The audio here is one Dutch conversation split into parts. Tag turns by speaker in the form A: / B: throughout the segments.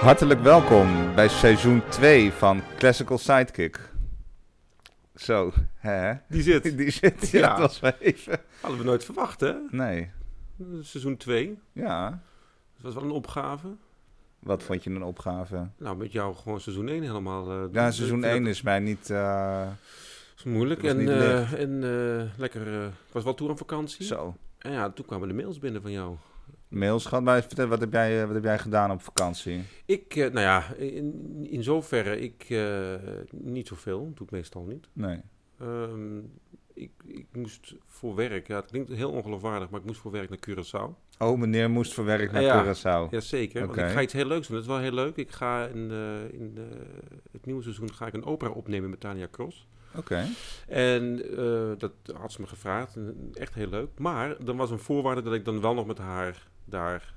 A: Hartelijk welkom bij seizoen 2 van Classical Sidekick. Zo, hè?
B: Die zit.
A: Die zit, ja,
B: Ja.
A: dat was wel even.
B: Hadden we nooit verwacht, hè?
A: Nee,
B: Seizoen 2.
A: ja.
B: Dat was wel een opgave.
A: Wat vond je een opgave?
B: Nou, met jou gewoon seizoen 1 helemaal. eh,
A: Ja,
B: doen.
A: seizoen
B: Ik vind
A: 1 is mij niet... eh,
B: Dat is moeilijk.
A: Dat
B: En,
A: was niet
B: eh, en eh, lekker. eh, ik was wel toe aan vakantie.
A: zo.
B: En ja, toen kwamen de mails binnen van jou.
A: Mails gehad, maar vertel, wat heb, jij, eh, wat heb jij gedaan op vakantie?
B: Ik, eh, nou ja, in, in zoverre, ik. eh, niet zoveel, doe ik meestal niet.
A: Nee.
B: Ehm, ik, ik moest voor werk, ja, het klinkt heel ongeloofwaardig, maar ik moest voor werk naar Curaçao.
A: Oh, meneer moest voor werk naar
B: Ja.
A: Curaçao.
B: Jazeker, want
A: Oké.
B: ik ga iets heel leuks doen. Dat is wel heel leuk. Ik ga in, eh, in eh, het nieuwe seizoen ga ik een opera opnemen met Tania Cross.
A: Oké.
B: En eh, dat had ze me gevraagd. En Echt heel leuk. Maar er was een voorwaarde dat ik dan wel nog met haar daar,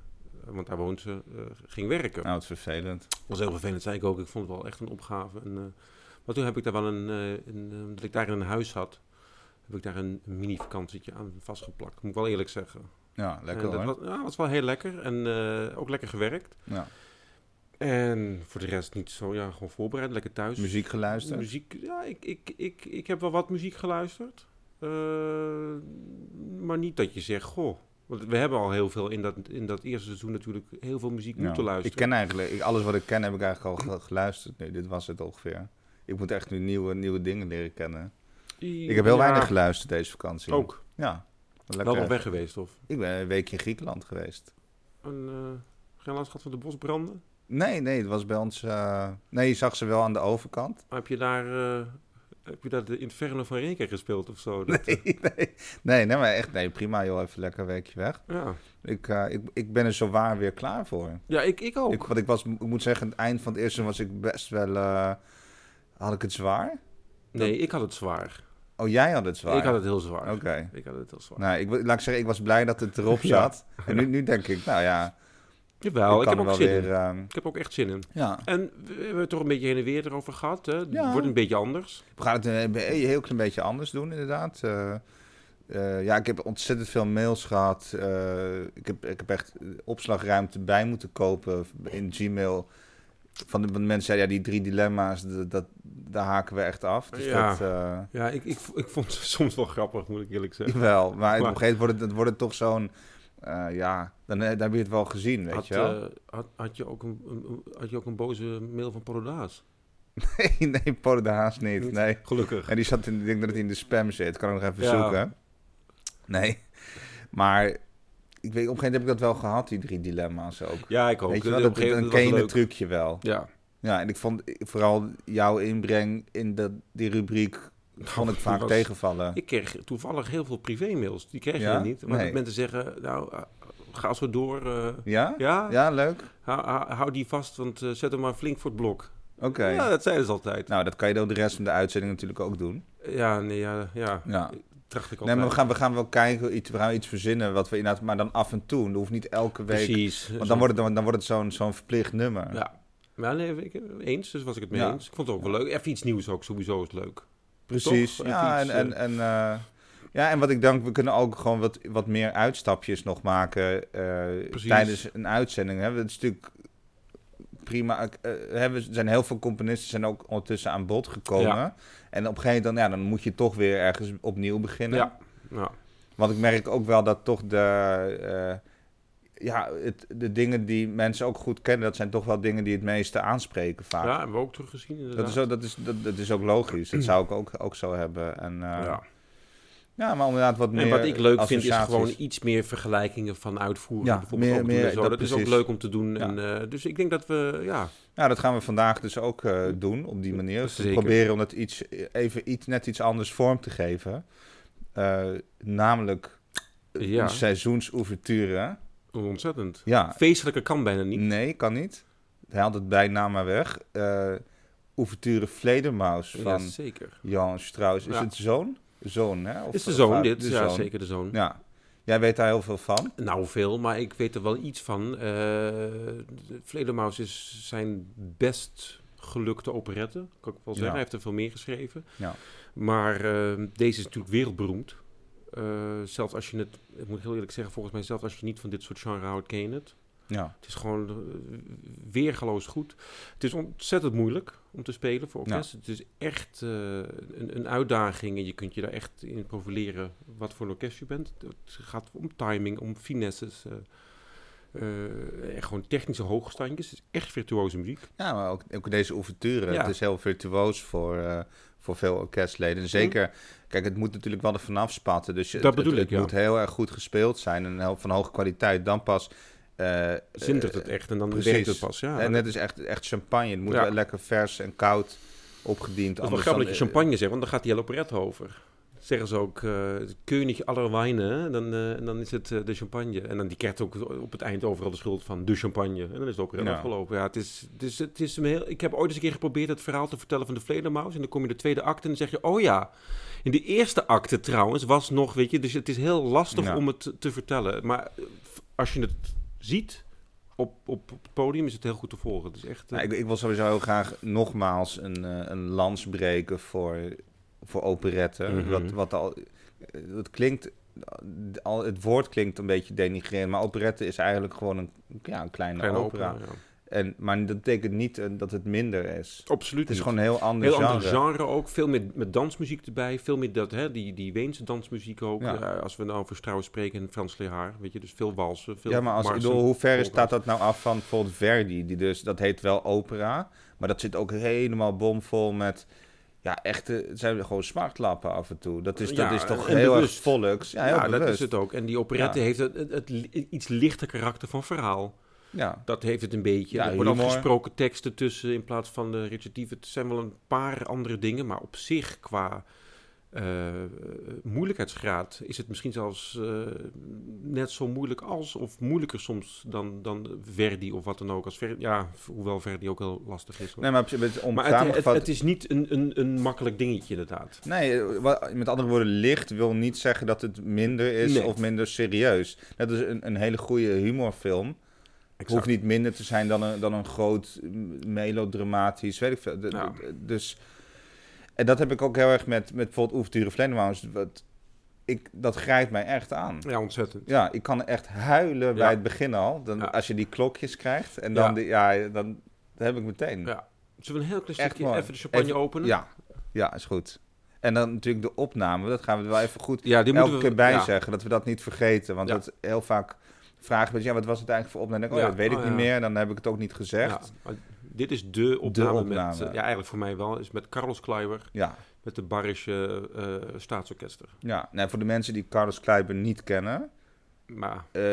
B: eh, want daar woont ze, eh, ging werken.
A: Nou, het is vervelend.
B: Dat was heel vervelend, zei ik ook. Ik vond het wel echt een opgave. En, eh, maar toen heb ik daar wel een, eh, een, eh, dat ik daar in een huis had, heb ik daar een mini-vakantietje aan vastgeplakt. Moet ik wel eerlijk zeggen.
A: Ja, lekker
B: En dat
A: hoor.
B: was, ja, was wel heel lekker. En eh, ook lekker gewerkt.
A: Ja.
B: En voor de rest niet zo, ja, gewoon voorbereid, lekker thuis.
A: Muziek geluisterd?
B: Muziek, ja, ik, ik, ik, ik heb wel wat muziek geluisterd. Eh, maar niet dat je zegt, goh. Want we hebben al heel veel in dat, in dat eerste seizoen natuurlijk heel veel muziek
A: Ja.
B: moeten
A: Ik
B: luisteren.
A: ken eigenlijk, ik, alles wat ik ken heb ik eigenlijk al ge- geluisterd. Nee, dit was het ongeveer. Ik moet echt nu nieuwe, nieuwe dingen leren kennen. Ik heb heel
B: Ja,
A: weinig geluisterd deze vakantie.
B: Ook.
A: Ja.
B: Wel
A: Lekker.
B: nog weg geweest, of?
A: Ik ben een weekje in Griekenland geweest.
B: En, eh, geen last gehad van de bosbranden?
A: Nee, nee, het was bij ons... eh, Nee, je zag ze wel aan de overkant.
B: Maar heb je daar... eh, heb je daar de Inferno van Reken gespeeld of zo? Dat,
A: Nee, nee, nee, nee, maar echt, nee, prima joh, even lekker een weekje weg.
B: ja,
A: Ik, eh, ik, ik ben er zo waar weer klaar voor.
B: ja ik, ik ook.
A: Ik, want ik was, ik moet zeggen, aan het eind van het eerste was ik best wel, eh, had ik het zwaar?
B: nee, ik had het zwaar.
A: Oh, jij had het zwaar?
B: Ik had het heel zwaar.
A: Oké.
B: Ik had het heel zwaar.
A: Nou, ik, wa- laat ik zeggen, ik was blij dat het erop
B: Ja.
A: zat. En nu, nu denk ik, nou ja,
B: Jawel, ik,
A: ik kan
B: heb
A: er
B: ook
A: wel
B: zin
A: weer...
B: in.
A: ehm,
B: Ik heb ook echt zin in.
A: ja,
B: En we hebben het toch een beetje heen en weer erover gehad. Hè? Het
A: Ja.
B: wordt een beetje anders.
A: we gaan het eh, een be- een heel klein beetje anders doen, inderdaad. Eh, eh, ja, ik heb ontzettend veel mails gehad. Eh, ik, heb, ik heb echt opslagruimte bij moeten kopen in Gmail. Van de, van de mensen zeiden, ja, die drie dilemma's, dat, dat, daar haken we echt af. Dus
B: Ja.
A: dat... eh,
B: Ja, ik, ik, ik vond het soms wel grappig, moet ik eerlijk zeggen.
A: Jawel, maar op een
B: Maar-
A: gegeven moment wordt het, het wordt het toch zo'n... eh, ja, dan, eh, dan heb je het wel gezien, weet
B: Had,
A: je wel.
B: eh, had, had, je ook een, een- had je ook een boze mail van Porodaas?
A: nee, nee, Polo de Haas niet,
B: Niet?
A: nee.
B: Gelukkig.
A: En die zat in, ik denk dat het in de spam zit. Kan ik nog even
B: Ja.
A: zoeken. Nee, maar ik weet, op een gegeven moment heb ik dat wel gehad, die drie dilemma's ook.
B: Ja, ik ook.
A: weet je
B: Dat-
A: wel,
B: op
A: dat,
B: een gegeven
A: dan
B: moment
A: ken je
B: was
A: het
B: het leuk.
A: trucje wel.
B: Ja.
A: Ja, en ik vond vooral jouw inbreng in dat die rubriek, vond ik
B: Oh, die
A: vaak
B: was-
A: tegenvallen.
B: Ik kreeg toevallig heel veel privé-mails. Die kreeg
A: Ja?
B: je niet. Maar
A: Nee.
B: dat mensen zeggen, nou, eh, ga zo door. eh,
A: Ja?
B: ja,
A: Ja, leuk.
B: Hou, hou- hou die vast, want eh, zet hem maar flink voor het blok.
A: Oké.
B: Ja, dat zeiden ze altijd.
A: Nou, dat kan je dan de rest van de uitzending natuurlijk ook doen.
B: Ja, nee, ja, ja.
A: Ja.
B: Tracht
A: Nee,
B: ik altijd.
A: maar we gaan, we gaan wel kijken, iets, we gaan iets verzinnen wat we inderdaad, maar dan af en toe. Dat hoeft niet elke week.
B: Precies.
A: Want dan wordt het, dan, dan wordt het zo'n zo'n verplicht nummer.
B: Ja. Maar nee, ik, eens, dus was ik het mee
A: Ja.
B: eens. Ik vond het ook wel leuk. Even iets nieuws ook, sowieso is leuk.
A: Precies.
B: Toch?
A: Ja, en,
B: Even
A: en,
B: iets,
A: en, eh, ja, en wat ik denk, we kunnen ook gewoon wat, wat meer uitstapjes nog maken eh,
B: Precies.
A: tijdens een uitzending. Hè. Het is natuurlijk prima. eh, hè, we- er zijn heel veel componisten zijn ook ondertussen aan bod gekomen. En op een gegeven moment, ja, dan moet je toch weer ergens opnieuw beginnen.
B: Ja. Nou,
A: Want ik merk ook wel dat toch de, eh, ja, het, de dingen die mensen ook goed kennen, dat zijn toch wel dingen die het meeste aanspreken vaak.
B: ja, hebben we ook teruggezien inderdaad.
A: Dat is, ook, dat, is, dat, dat is ook logisch. Dat zou ik ook, ook zo hebben. En, eh, ja.
B: ja.
A: maar inderdaad wat meer
B: En wat ik leuk vind is
A: associaties.
B: gewoon iets meer vergelijkingen van uitvoeren.
A: Ja,
B: bijvoorbeeld
A: meer-
B: ook doen en
A: meer-
B: zo.
A: dat
B: Dat, is ook
A: precies.
B: leuk om te doen. En, eh, dus ik denk dat we, ja,
A: Ja, dat gaan we vandaag dus ook eh, doen op die manier. Dus we
B: Zeker.
A: proberen om dat iets, eh, even iets, net iets anders vorm te geven. Eh, namelijk eh,
B: Ja.
A: een seizoensouverture.
B: ontzettend.
A: Ja,
B: Feestelijker kan bijna niet.
A: Nee, kan niet. Hij haalt het bijna maar weg. Eh Ouverture Vledermaus
B: Ja,
A: van
B: zeker.
A: Jan Strauss. Is
B: Ja.
A: het zoon? Zoon, hè? Of-
B: Is de
A: of
B: zoon
A: vader?
B: dit?
A: De
B: ja,
A: zoon.
B: zeker de zoon.
A: Ja. Jij weet daar heel veel van.
B: Nou, veel, maar ik weet er wel iets van. Eh Vledermaus is zijn best gelukte operette, kan ik wel zeggen.
A: Ja.
B: Hij heeft er veel meer geschreven.
A: Ja.
B: Maar eh, deze is natuurlijk wereldberoemd. Eh, zelfs als je het, ik moet heel eerlijk zeggen, volgens mij zelfs als je niet van dit soort genre houdt, ken je het.
A: Ja.
B: Het is gewoon eh, weergeloos goed. Het is ontzettend moeilijk om te spelen voor
A: Ja.
B: orkest. Het is echt eh, een, een uitdaging en je kunt je daar echt in profileren wat voor een orkest je bent. Het gaat om timing, om finesses, eh, eh, en gewoon technische hoogstandjes. Het is echt virtuoze muziek.
A: Ja, maar ook, ook deze ouverture.
B: Ja.
A: Het is heel virtuoos voor, eh, voor veel orkestleden. En zeker, kijk, het moet natuurlijk wel er vanaf spatten. Dus
B: Mm. Dat
A: het,
B: bedoel
A: het,
B: ik,
A: het
B: ja.
A: moet heel erg goed gespeeld zijn en heel- van hoge kwaliteit. Dan pas... eh,
B: Zintert
A: eh,
B: het echt en dan
A: precies.
B: werkt het pas. Ja,
A: en het is echt, echt champagne. Het moet
B: Ja.
A: wel lekker vers en koud opgediend.
B: Dat is wel
A: anders
B: grappig
A: dan- eh,
B: dat je champagne zegt, want dan gaat die hele operette over. Zeggen ze ook, eh König aller Wijnen, dan, eh, en dan is het eh, de champagne. En dan die krijgt ook op het eind overal de schuld van de champagne. En dan is de operette
A: Ja.
B: afgelopen. Ja, het is, het is, het is een heel, ik heb ooit eens een keer geprobeerd het verhaal te vertellen van de Vledermaus. En dan kom je in de tweede acte en dan zeg je, oh ja. In de eerste acte trouwens was nog, weet je, dus het is heel lastig
A: Ja.
B: om het te vertellen. Maar eh, als je het ziet op, op, op het podium is het heel goed te volgen. Het is echt... eh,
A: Nou, ik, ik wil sowieso heel graag nogmaals een, eh, een lans breken voor, voor operetten.
B: Mhm.
A: Wat, wat al, het klinkt, al, het woord klinkt een beetje denigrerend, maar operette is eigenlijk gewoon een, ja, een kleine,
B: kleine
A: opera.
B: opera, ja.
A: En, maar dat betekent niet eh, dat het minder is.
B: Absoluut
A: Het is
B: niet.
A: gewoon een heel ander
B: Heel
A: genre.
B: ander genre ook. Veel meer met dansmuziek erbij. Veel meer dat, hè, die, die Weense dansmuziek ook.
A: Ja.
B: Eh, als we nou over Strauss spreken en Frans Lehaar. Weet je, dus veel walsen. Veel
A: Ja, maar als, ik
B: marsen.
A: bedoel, hoe ver
B: polka's.
A: staat dat nou af van bijvoorbeeld Verdi? Die dus, dat heet wel opera, maar dat zit ook helemaal bomvol met... Ja, echte, het zijn gewoon smartlappen af en toe. Dat is, dat
B: Ja,
A: is toch
B: en
A: heel
B: bewust.
A: erg volks. Ja, heel
B: Ja, dat
A: bewust.
B: is het ook. En die operette
A: Ja.
B: heeft het, het, het li- iets lichter karakter van verhaal.
A: Ja.
B: Dat heeft het een beetje.
A: Ja,
B: er worden
A: humor.
B: afgesproken teksten tussen in plaats van de recitatieve. Het zijn wel een paar andere dingen, maar op zich qua eh, moeilijkheidsgraad is het misschien zelfs eh, net zo moeilijk als, of moeilijker soms dan, dan Verdi of wat dan ook. Als Verdi, ja, hoewel Verdi ook heel lastig is. hoor.
A: Nee, maar het, om
B: maar het, het,
A: samengevat...
B: het is niet een, een, een makkelijk dingetje inderdaad.
A: Nee, eh, wa- met andere woorden, licht wil niet zeggen dat het minder is
B: Nee.
A: of minder serieus. Dat is een, een hele goede humorfilm. Hoeft niet minder te zijn dan een, dan een groot mm, melodramatisch, weet ik veel. De-
B: Ja.
A: de- dus, en dat heb ik ook heel erg met, met bijvoorbeeld Oefenturen Vlendermaus. Wat, ik, dat grijpt mij echt aan.
B: Ja, ontzettend.
A: Ja, ik kan echt huilen bij
B: Ja.
A: het begin al. Dan,
B: Ja.
A: Als je die klokjes krijgt en dan,
B: Ja.
A: die- ja. dan dat heb ik meteen.
B: Ja. Zullen we een heel klein
A: Echt
B: stukje
A: mooi.
B: even de champagne
A: Even-
B: openen?
A: Ja, ja, is goed. En dan natuurlijk de opname, dat gaan we er wel even goed
B: Ja, die
A: elke
B: moeten we
A: keer bij
B: ja.
A: zeggen, dat we dat niet vergeten. Want
B: Ja.
A: dat heel vaak vragen mensen, ja, wat was het eigenlijk voor opname? Dan denk ik, oh,
B: Ja.
A: dat weet ik
B: Oh,
A: niet
B: ja.
A: meer, dan heb ik het ook niet gezegd.
B: Ja, maar dit is de opname,
A: opname.
B: met, eh, ja eigenlijk voor mij wel, is met Carlos Kleiber,
A: Ja,
B: met de Barische eh, Staatsorkester.
A: ja. Nou, voor de mensen die Carlos Kleiber niet kennen,
B: Maar
A: eh,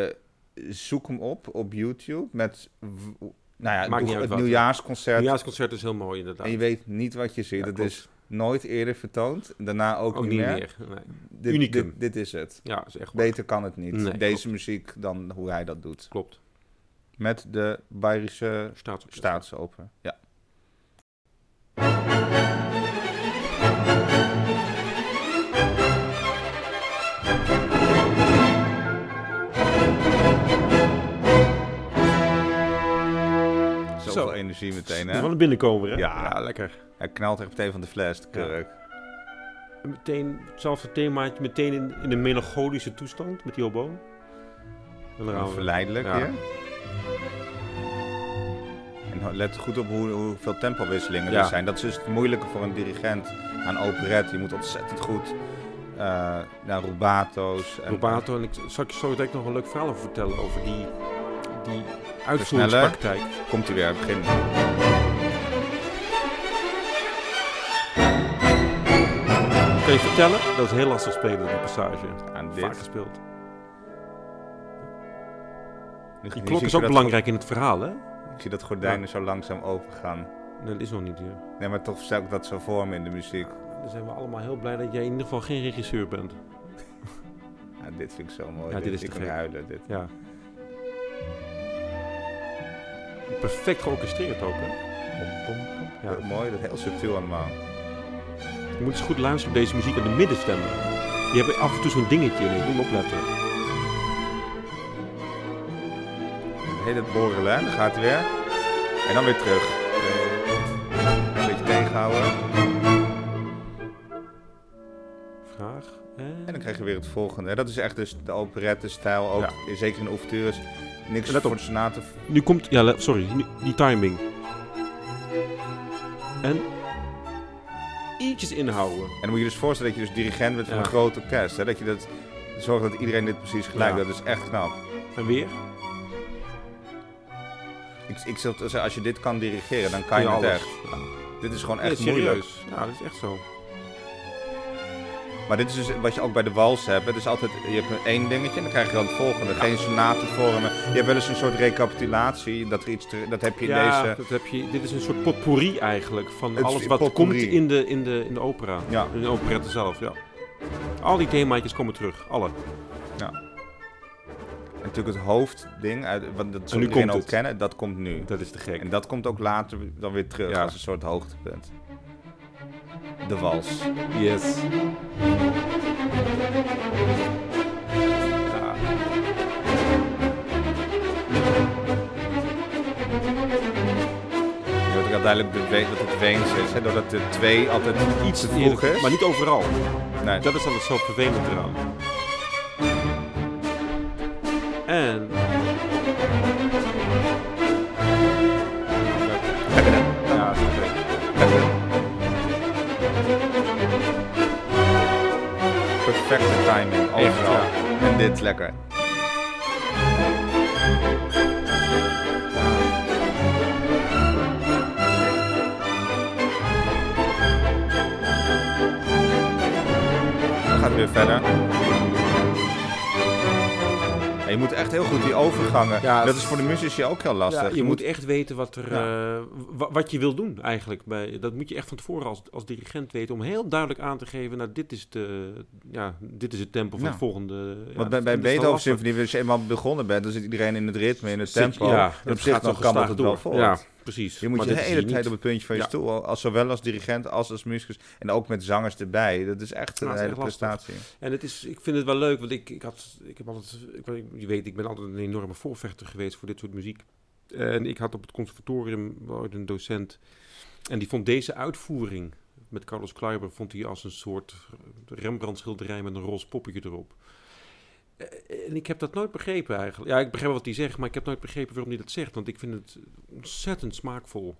A: zoek hem op op YouTube met, w- nou ja,
B: Maakt niet
A: het
B: uit wat,
A: nieuwjaarsconcert.
B: het nieuwjaarsconcert is heel mooi inderdaad.
A: En je weet niet wat je ziet.
B: Ja,
A: dat
B: klopt.
A: is nooit eerder vertoond. Daarna ook,
B: ook niet meer. Nee.
A: Dit,
B: Unicum.
A: Dit, dit is het.
B: Ja, is echt waar.
A: Beter kan het niet.
B: Nee,
A: Deze muziek dan hoe hij dat doet.
B: Klopt.
A: Met de Bayerische
B: Staatsorkester.
A: Staatsoper. Ja. Zoveel
B: Zo.
A: energie meteen,
B: Dat is wel
A: hè?
B: een binnenkomer, hè?
A: Ja.
B: lekker.
A: Hij knalt echt meteen van de fles, de kurk.
B: En meteen hetzelfde themaatje, meteen in, in een melancholische toestand met die oboe. En dan gaan we-
A: Verleidelijk
B: Ja.
A: weer. En let goed op hoe, hoeveel tempowisselingen
B: Ja.
A: er zijn. Dat is dus het moeilijke voor een dirigent aan operet. Je moet ontzettend goed eh naar rubato's. En,
B: Robato, en ik zal ik je zo direct nog een leuk verhaal over vertellen over die, die uitvoeringspraktijk.
A: eh, Komt hij weer aan het begin.
B: Kun je vertellen? Dat is heel lastig spelen, die passage.
A: Aan
B: Vaak
A: dit.
B: gespeeld.
A: Nu-
B: Die
A: nu
B: klok
A: zie
B: is
A: ik
B: ook
A: dat-
B: belangrijk in het verhaal, hè?
A: Ik zie dat gordijnen zo langzaam open gaan.
B: Nee, dat is nog niet. Ja.
A: Nee, maar toch stel ik dat zo voor me in de muziek.
B: Dan zijn we allemaal heel blij dat jij in ieder geval geen regisseur bent.
A: Ja, dit vind ik zo mooi.
B: Ja, dit is
A: ik
B: te
A: kan
B: gek.
A: huilen. Dit.
B: Ja. Perfect georchestreerd ook, hè? Ja.
A: Heel mooi, dat heel subtiel allemaal.
B: Je moet eens goed luisteren op deze muziek aan de middenstemmen. Die hebben af en toe zo'n dingetje in. Ik moet opletten.
A: Heet het borrelen, hè? Dan gaat hij weer. En dan weer terug. Eh, Een beetje tegenhouden.
B: Vraag.
A: En dan krijg je weer het volgende. Dat is echt dus de operette-stijl ook. Zeker in de ouvertures. Niks
B: Let op.
A: voor de senaten.
B: Nu komt, ja, le- sorry, nu- die timing. En ietsjes inhouden.
A: En dan moet je dus voorstellen dat je dus dirigent bent van
B: Ja.
A: een groot orkest. Hè? Dat je dat, zorgt dat iedereen dit precies gelijk
B: Ja.
A: doet. Dat is echt knap.
B: En weer.
A: Ik, ik zou zeggen, als je dit kan dirigeren, dan kan je,
B: Ja,
A: het
B: alles.
A: echt. Dit is gewoon
B: Nee,
A: echt
B: serieus.
A: moeilijk.
B: Ja, dat is echt zo.
A: Maar dit is dus wat je ook bij de wals hebt. Het is altijd, je hebt één dingetje en dan krijg je dan het volgende. Geen sonatenvormen. Je hebt wel eens een soort recapitulatie. Dat, er iets te- dat heb je in
B: ja,
A: deze...
B: dat heb je, dit is een soort potpourri eigenlijk. Van
A: Het is
B: alles wat
A: potpourri.
B: komt in de, in, de, in de opera.
A: Ja.
B: In de operette zelf, ja. Al die themaatjes komen terug. Alle.
A: En natuurlijk het hoofdding, uit, want dat zal
B: nu
A: iedereen
B: komt
A: ook
B: het.
A: kennen, dat komt nu.
B: Dat is te gek.
A: En dat komt ook later dan weer terug
B: Ja.
A: als een soort hoogtepunt. De wals.
B: Yes. Ja.
A: Je wordt ook uiteindelijk beweegd dat het Weens is, hè, doordat de twee altijd iets te vroeg
B: Eerlijk,
A: is.
B: Maar niet overal.
A: Nee.
B: Dat is dan het zo vervelend eraan. En... Ja, dat is te gek.
A: Perfecte timing, overal.
B: Echt,
A: En dit lekker. Dan gaat het weer verder. En je moet echt heel goed die overgangen.
B: Ja,
A: dat is voor de muzici ook heel lastig.
B: Ja, je moet echt weten wat, er, eh, wa- wat je wil doen eigenlijk. Bij, dat moet je echt van tevoren als, als dirigent weten. Om heel duidelijk aan te geven, nou dit is, de, ja, dit is het tempo van
A: Ja.
B: het volgende. ja,
A: Want bij, bij
B: dat is wel
A: Beethoven
B: lastig.
A: Symfonie, als je eenmaal begonnen bent, dan zit iedereen in het ritme, in het
B: Zit-
A: tempo.
B: ja,
A: En
B: dat
A: op zich
B: gaat
A: dan
B: zo
A: kan dat
B: gestaag
A: het
B: door.
A: wel voort.
B: Ja, precies.
A: Je moet
B: Maar
A: je de
B: dit is
A: hele
B: hier
A: tijd op
B: niet.
A: het puntje van je
B: Ja.
A: stoel, als, zowel als dirigent als als muzikus. En ook met zangers erbij. Dat is echt een
B: dat is
A: hele
B: echt lastig. Dus
A: prestatie.
B: En het is, ik vind het wel leuk, want ik, ik had, ik heb altijd, ik, ben- je weet, ik ben altijd een enorme voorvechter geweest voor dit soort muziek. En ik had op het conservatorium wel ooit een docent en die vond deze uitvoering met Carlos Kleiber vond hij als een soort Rembrandt schilderij met een roze poppetje erop. Eh, En ik heb dat nooit begrepen eigenlijk. Ja, ik begrijp wat hij zegt, maar ik heb nooit begrepen waarom hij dat zegt. Want ik vind het ontzettend smaakvol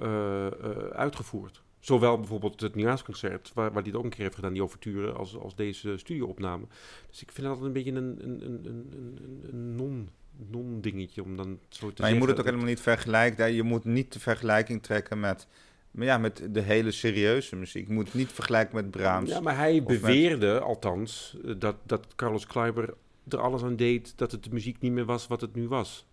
B: eh, eh, uitgevoerd. Zowel bijvoorbeeld het Nieuwjaarsconcert, waar, waar hij het ook een keer heeft gedaan, die overture, als, als deze studioopname. Dus ik vind dat altijd een beetje een, een, een, een, een- een non, non-dingetje om dan zo te
A: Maar je moet het ook
B: zeggen.
A: helemaal niet vergelijken. hè. Je moet niet de vergelijking trekken met, maar ja, met de hele serieuze muziek. Je moet het niet vergelijken met Brahms.
B: Ja, maar hij
A: met-
B: beweerde althans eh, dat, dat Carlos Kleiber er alles aan deed dat het de muziek niet meer was wat het nu was.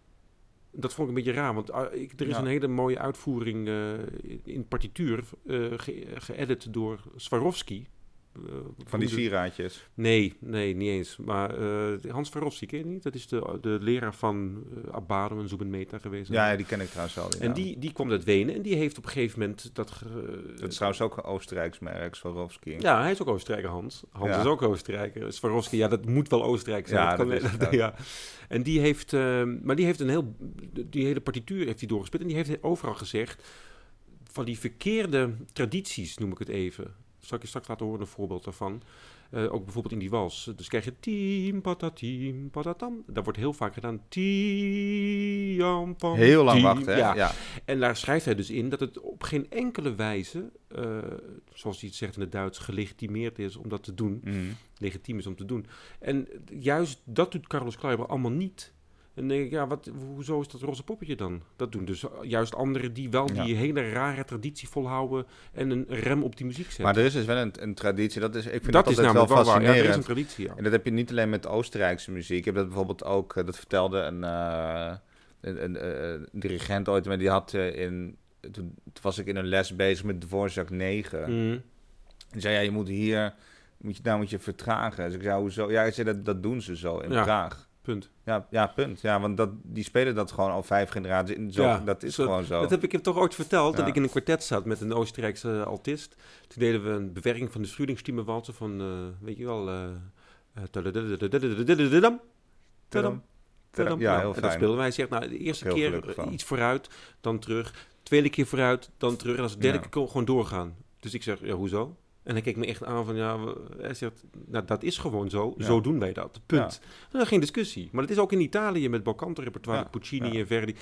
B: Dat vond ik een beetje raar, want ah, ik, er is
A: Ja.
B: een hele mooie uitvoering eh, in- in partituur, eh, ge- geëdit door Swarovski. eh,
A: van die
B: beroemde-
A: sieraadjes.
B: Nee, nee, niet eens. Maar eh, Hans Swarovski, ken je niet? Dat is de, de leraar van eh, Abbado en Zubin Mehta geweest.
A: Ja, ja, die ken ik trouwens al.
B: En
A: naam.
B: die, die kwam uit Wenen en die heeft op een gegeven moment dat... ge-
A: Dat is trouwens ook een Oostenrijks merk, Swarovski.
B: ja, hij is ook Oostenrijker, Hans. Hans
A: Ja.
B: is ook Oostenrijker. Swarovski, ja, dat moet wel Oostenrijk zijn.
A: Ja,
B: dat kan,
A: dat is het
B: dat-
A: ook.
B: ja. En die heeft, ehm, maar die heeft een heel, die hele partituur heeft hij doorgespit. En die heeft overal gezegd, van die verkeerde tradities, noem ik het even. Zal ik je straks laten horen een voorbeeld daarvan. Eh, ook bijvoorbeeld in die wals. Dus krijg je team, patatim, patatam. Daar wordt heel vaak gedaan. Tiam, pam,
A: Heel lang
B: tiam.
A: wachten. hè?
B: Ja,
A: ja.
B: en daar schrijft hij dus in dat het op geen enkele wijze, eh, zoals hij het zegt in het Duits, gelegitimeerd is om dat te doen.
A: Mhm.
B: Legitiem is om te doen. En juist dat doet Carlos Kleiber allemaal niet. En dan denk ik, ja, wat, hoezo is dat roze poppetje dan? Dat doen dus juist anderen die wel
A: Ja.
B: die hele rare traditie volhouden en een rem op die muziek zetten.
A: Maar er is dus wel een, een traditie. Dat is, ik vind
B: dat,
A: dat,
B: is
A: altijd
B: namelijk
A: wel
B: wel waar. Ja,
A: fascinerend.
B: er is een traditie, ja.
A: En dat heb je niet alleen met Oostenrijkse muziek. Ik heb dat bijvoorbeeld ook, eh, dat vertelde een, eh, een, een, eh, een dirigent ooit, maar die had eh, in. Toen, toen was ik in een les bezig met Dvorak 9.
B: Mm.
A: En zei ja, je moet hier, moet je, daar moet je vertragen. Dus ik zei, hoezo? Ja, hij zei, dat, dat doen ze zo in
B: Ja.
A: Praag.
B: Punt.
A: Ja, ja, punt. Ja, want dat, die spelen dat gewoon al vijf generaties. in. Zo,
B: Ja,
A: dat is
B: zo-
A: gewoon zo.
B: Dat heb ik hem toch ooit verteld, dat
A: Ja.
B: ik in een kwartet zat met een Oostenrijkse eh, altist. Toen deden we een bewerking van de Frühlingsstimmenwalsen van, eh, weet je wel... eh, eh, tadadadadadadadadadam, tadam, tadam.
A: Ja,
B: Nou,
A: heel
B: En dat
A: fijn.
B: speelden wij. Hij zegt, nou, de eerste
A: Heel
B: keer
A: gelukkig van.
B: iets vooruit, dan terug. Tweede keer vooruit, dan terug. En als de derde
A: Ja.
B: keer gewoon doorgaan. Dus ik zeg, ja, hoezo? En hij keek me echt aan van, ja, we- hij zegt, nou, dat is gewoon zo,
A: Ja.
B: zo doen wij dat, punt. En dan geen discussie. Maar dat is ook in Italië met Belcanto-repertoire,
A: Ja,
B: Puccini
A: ja.
B: en Verdi.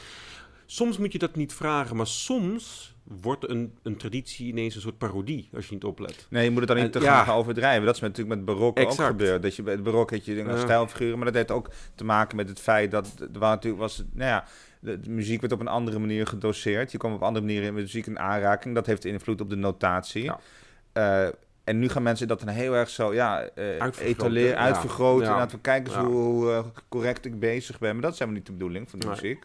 B: Soms moet je dat niet vragen, maar soms wordt een, een traditie ineens een soort parodie, als je niet oplet.
A: Nee, je moet het dan niet te
B: En- ja.
A: gaan overdrijven. Dat is natuurlijk met barok ook
B: Exact.
A: gebeurd. Dat je bij het barok had je dingen
B: Ja.
A: stijlfiguren, maar dat heeft ook te maken met het feit dat er waren natuurlijk was, het- nou ja, de, de muziek werd op een andere manier gedoseerd. Je kwam op andere manieren met muziek in aanraking. Dat heeft invloed op de notatie.
B: Ja.
A: Eh, en nu gaan mensen dat dan heel erg zo ja, eh
B: Uitvergroten,
A: etaleren,
B: ja.
A: uitvergroten.
B: Ja.
A: En laten we kijken eens
B: Ja.
A: hoe, hoe, eh, correct ik bezig ben. Maar dat is helemaal niet de bedoeling van de
B: Nee.
A: muziek.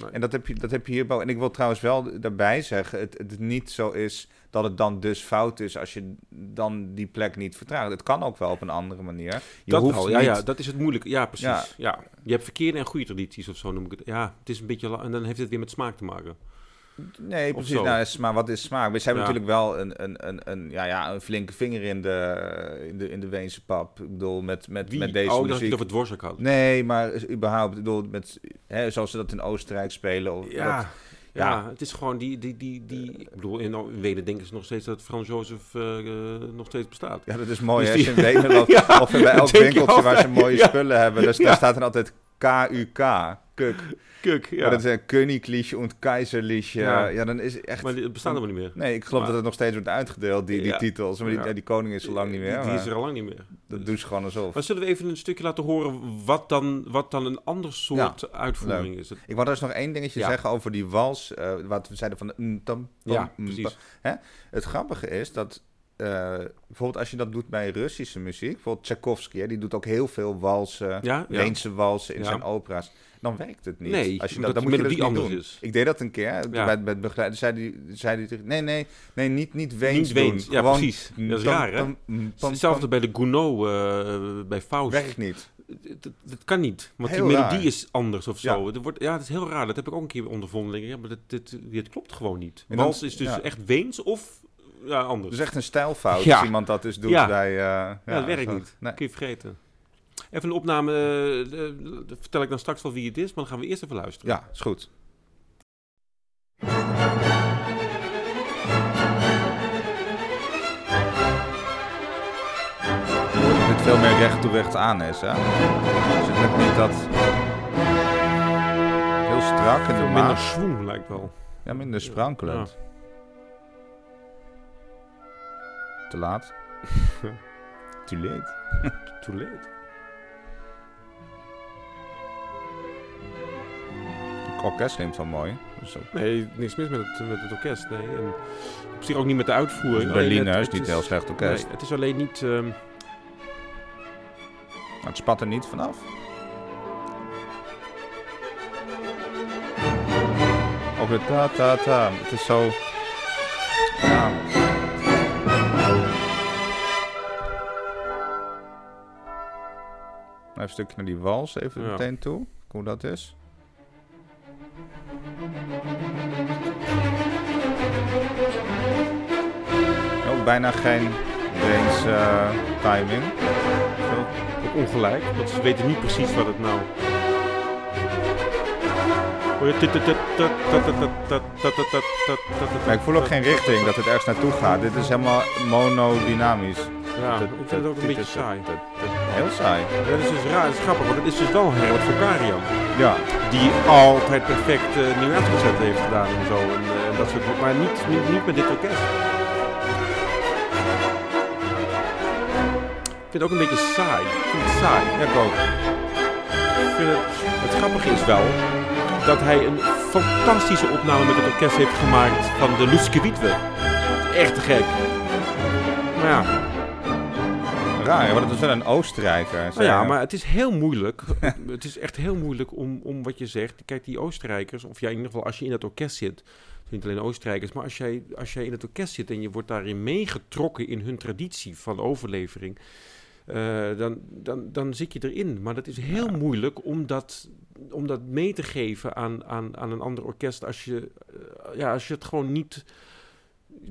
B: Nee.
A: En dat heb, je, dat heb je hierbij. En ik wil trouwens wel daarbij zeggen: het, het niet zo is dat het dan dus fout is als je dan die plek niet vertraagt. Het kan ook wel op een andere manier. Je
B: dat
A: hoeft
B: wel, ja,
A: niet-
B: ja, dat is het moeilijke. Ja, precies.
A: Ja.
B: Ja. Je hebt verkeerde en goede tradities of zo noem ik het. Ja, het is een beetje... la- En dan heeft het weer met smaak te maken.
A: Nee,
B: of
A: precies.
B: zo.
A: Nou, is- maar wat is smaak? Maar Ze hebben
B: Ja.
A: natuurlijk wel een, een, een, een, ja, ja, een flinke vinger in de, in de, in de Weense pap. Ik bedoel, met, met,
B: Wie?
A: met deze
B: oh, dat je
A: muziek.
B: het over Dvorak had.
A: Nee, maar überhaupt, ik bedoel, met, hè, zoals ze dat in Oostenrijk spelen. Of,
B: Ja.
A: dat-
B: ja,
A: ja. Eh.
B: het is gewoon die... die, die, die ik bedoel, in, in Wenen denken ze nog steeds dat Frans Jozef eh, eh, nog steeds bestaat.
A: ja, dat is mooi.
B: Dus
A: hè,
B: die-
A: als je in Wenen loopt,
B: Ja,
A: of bij
B: dat
A: elk
B: denk je
A: winkeltje waar ze
B: altijd.
A: mooie
B: Ja.
A: spullen hebben. Dus daar
B: Ja.
A: staat dan altijd KUK. Kuk.
B: Kuk, ja.
A: Maar dat is een Königliche en Keizerliche. Ja.
B: Ja.
A: dan is echt...
B: Maar die bestaan helemaal niet meer.
A: Nee, ik geloof
B: Maar-
A: dat het nog steeds wordt uitgedeeld, die, die
B: Ja.
A: titels. Maar die,
B: Ja.
A: ja, die koning is zo lang niet meer.
B: Die, die
A: maar
B: is er al lang niet meer.
A: Dat doen ze gewoon alsof.
B: Maar zullen we even een stukje laten horen wat dan, wat dan een ander soort uitvoering is?
A: Ik wou dus nog één dingetje
B: Ja.
A: zeggen over die wals. eh, wat we zeiden van... de mm, tam, pam,
B: Ja,
A: mm,
B: precies.
A: Het grappige is dat eh, bijvoorbeeld als je dat doet bij Russische muziek, bijvoorbeeld Tchaikovsky, hè, die doet ook heel veel walsen,
B: Ja? ja.
A: Weense walsen in
B: Ja.
A: zijn opera's, dan werkt het niet.
B: Nee,
A: als je
B: omdat
A: dat, dan
B: de
A: moet je dat
B: melodie
A: niet
B: anders
A: doen.
B: is.
A: Ik deed dat een keer
B: Ja.
A: bij, bij het begeleiden. Zei die, zei die tegen- nee, nee, nee, niet, niet Weens
B: Niet Weens.
A: doen.
B: Ja,
A: Gewoon
B: precies. Dat is
A: tam,
B: raar, hè?
A: tam, mm, pam,
B: Hetzelfde bij de Gounod, eh, bij
A: pam.
B: Faust.
A: Werkt niet.
B: Het- het- Dat kan niet, want
A: Heel
B: die melodie
A: raar.
B: is anders of
A: Ja.
B: zo. Het wordt, ja, dat is heel raar. Dat heb ik ook een keer ondervonden. Ja, maar dit, dit, dit klopt gewoon niet.
A: En dan-
B: Wals is dus
A: ja.
B: echt Weens of ja, anders.
A: Dat is echt een stijlfout
B: Ja.
A: als iemand dat dus doet
B: Ja.
A: bij... eh, ja,
B: dat werkt
A: zo.
B: niet.
A: Nee.
B: Kun je vergeten. Even een opname, eh, eh, dat vertel ik dan straks wel wie het is, maar dan gaan we eerst even luisteren.
A: Ja, is goed. Dat dit veel meer recht toe recht aan is, hè? Dus het lukt niet dat... Heel strak in de
B: Veel minder
A: maat.
B: schwung lijkt wel.
A: Ja, minder sprankelend. Te laat. Too late.
B: Too late.
A: De orkest neemt wel mooi. Dus ook
B: Nee, niks mis met het, met het orkest. Nee. En op zich ook niet met de
A: dus
B: uitvoering. Alleen
A: Berliner
B: het-
A: is
B: Oh, het
A: niet heel slecht orkest.
B: Nee, het is alleen niet... ehm,
A: Maar het spat er niet vanaf. Ook de ta ta ta. Het is zo. Ja. Even een stukje naar die wals even
B: Ja.
A: meteen toe. Kijken Hoe dat is. Ook bijna geen brains eh, timing. Zo
B: Ook ongelijk, want ze weten niet precies wat het nou. Hoor je tut, tut, tut, tut, tut, tut, tut, tut, tut, tut, tut, tut,
A: Maar ik voel ook geen richting dat het ergens naartoe gaat. Dit is helemaal monodynamisch.
B: Ja, ik vind het ook een beetje saai.
A: Heel saai.
B: Ja, dat is dus raar, dat is grappig, want het is dus wel Herbert van Karian.
A: Ja.
B: Die altijd perfect eh nieuw uitgezet heeft gedaan en zo. En, eh, en dat soort, maar niet, niet, niet met dit orkest. Ik vind het ook een beetje saai. Ik vind het saai.
A: Ja, ik ook.
B: Ik vind het, het grappige is wel dat hij een fantastische opname met het orkest heeft gemaakt van de Luske Wietwe. Echt te gek. Maar ja, nou
A: Raar, hè, want het is wel een Oostenrijker. zei
B: Oh ja,
A: hij.
B: maar het is heel moeilijk. het is echt heel moeilijk om, om wat je zegt. Kijk, die Oostenrijkers, of ja, in ieder geval als je in dat orkest zit. het zijn Niet alleen Oostenrijkers, maar als jij, als jij in het orkest zit en je wordt daarin meegetrokken in hun traditie van overlevering, eh, dan, dan, dan zit je erin. Maar dat is heel moeilijk om dat, om dat mee te geven aan, aan, aan een ander orkest als je, eh, ja, als je het gewoon niet,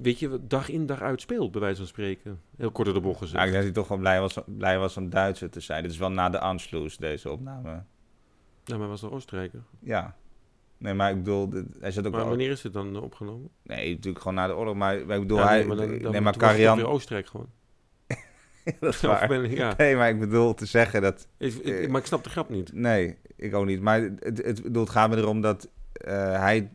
B: weet je, dag in dag uit speelt, bij wijze van spreken. Heel kort door de bocht gezegd.
A: Ja, ik denk dat hij toch wel blij was, blij was om Duitser te zijn. Dit is wel na de Anschluss, deze opname.
B: Nou, Ja, maar hij was een Oostenrijker.
A: Ja. Nee, maar ik bedoel, de- hij zat ook
B: Maar
A: wel...
B: wanneer is het dan eh, opgenomen?
A: Nee, natuurlijk gewoon na de oorlog, maar, maar ik bedoel,
B: Ja,
A: hij...
B: nee, maar dan, dan
A: nee, maar
B: toen was het toch
A: Karian...
B: weer Oostenrijk gewoon.
A: dat is
B: Of
A: waar.
B: ben ik- ja.
A: Nee, maar ik bedoel te zeggen dat...
B: Ik- ik-
A: Eh.
B: maar ik snap de grap niet.
A: Nee, ik ook niet. Maar het, het, ik bedoel, het gaat me erom dat eh, hij...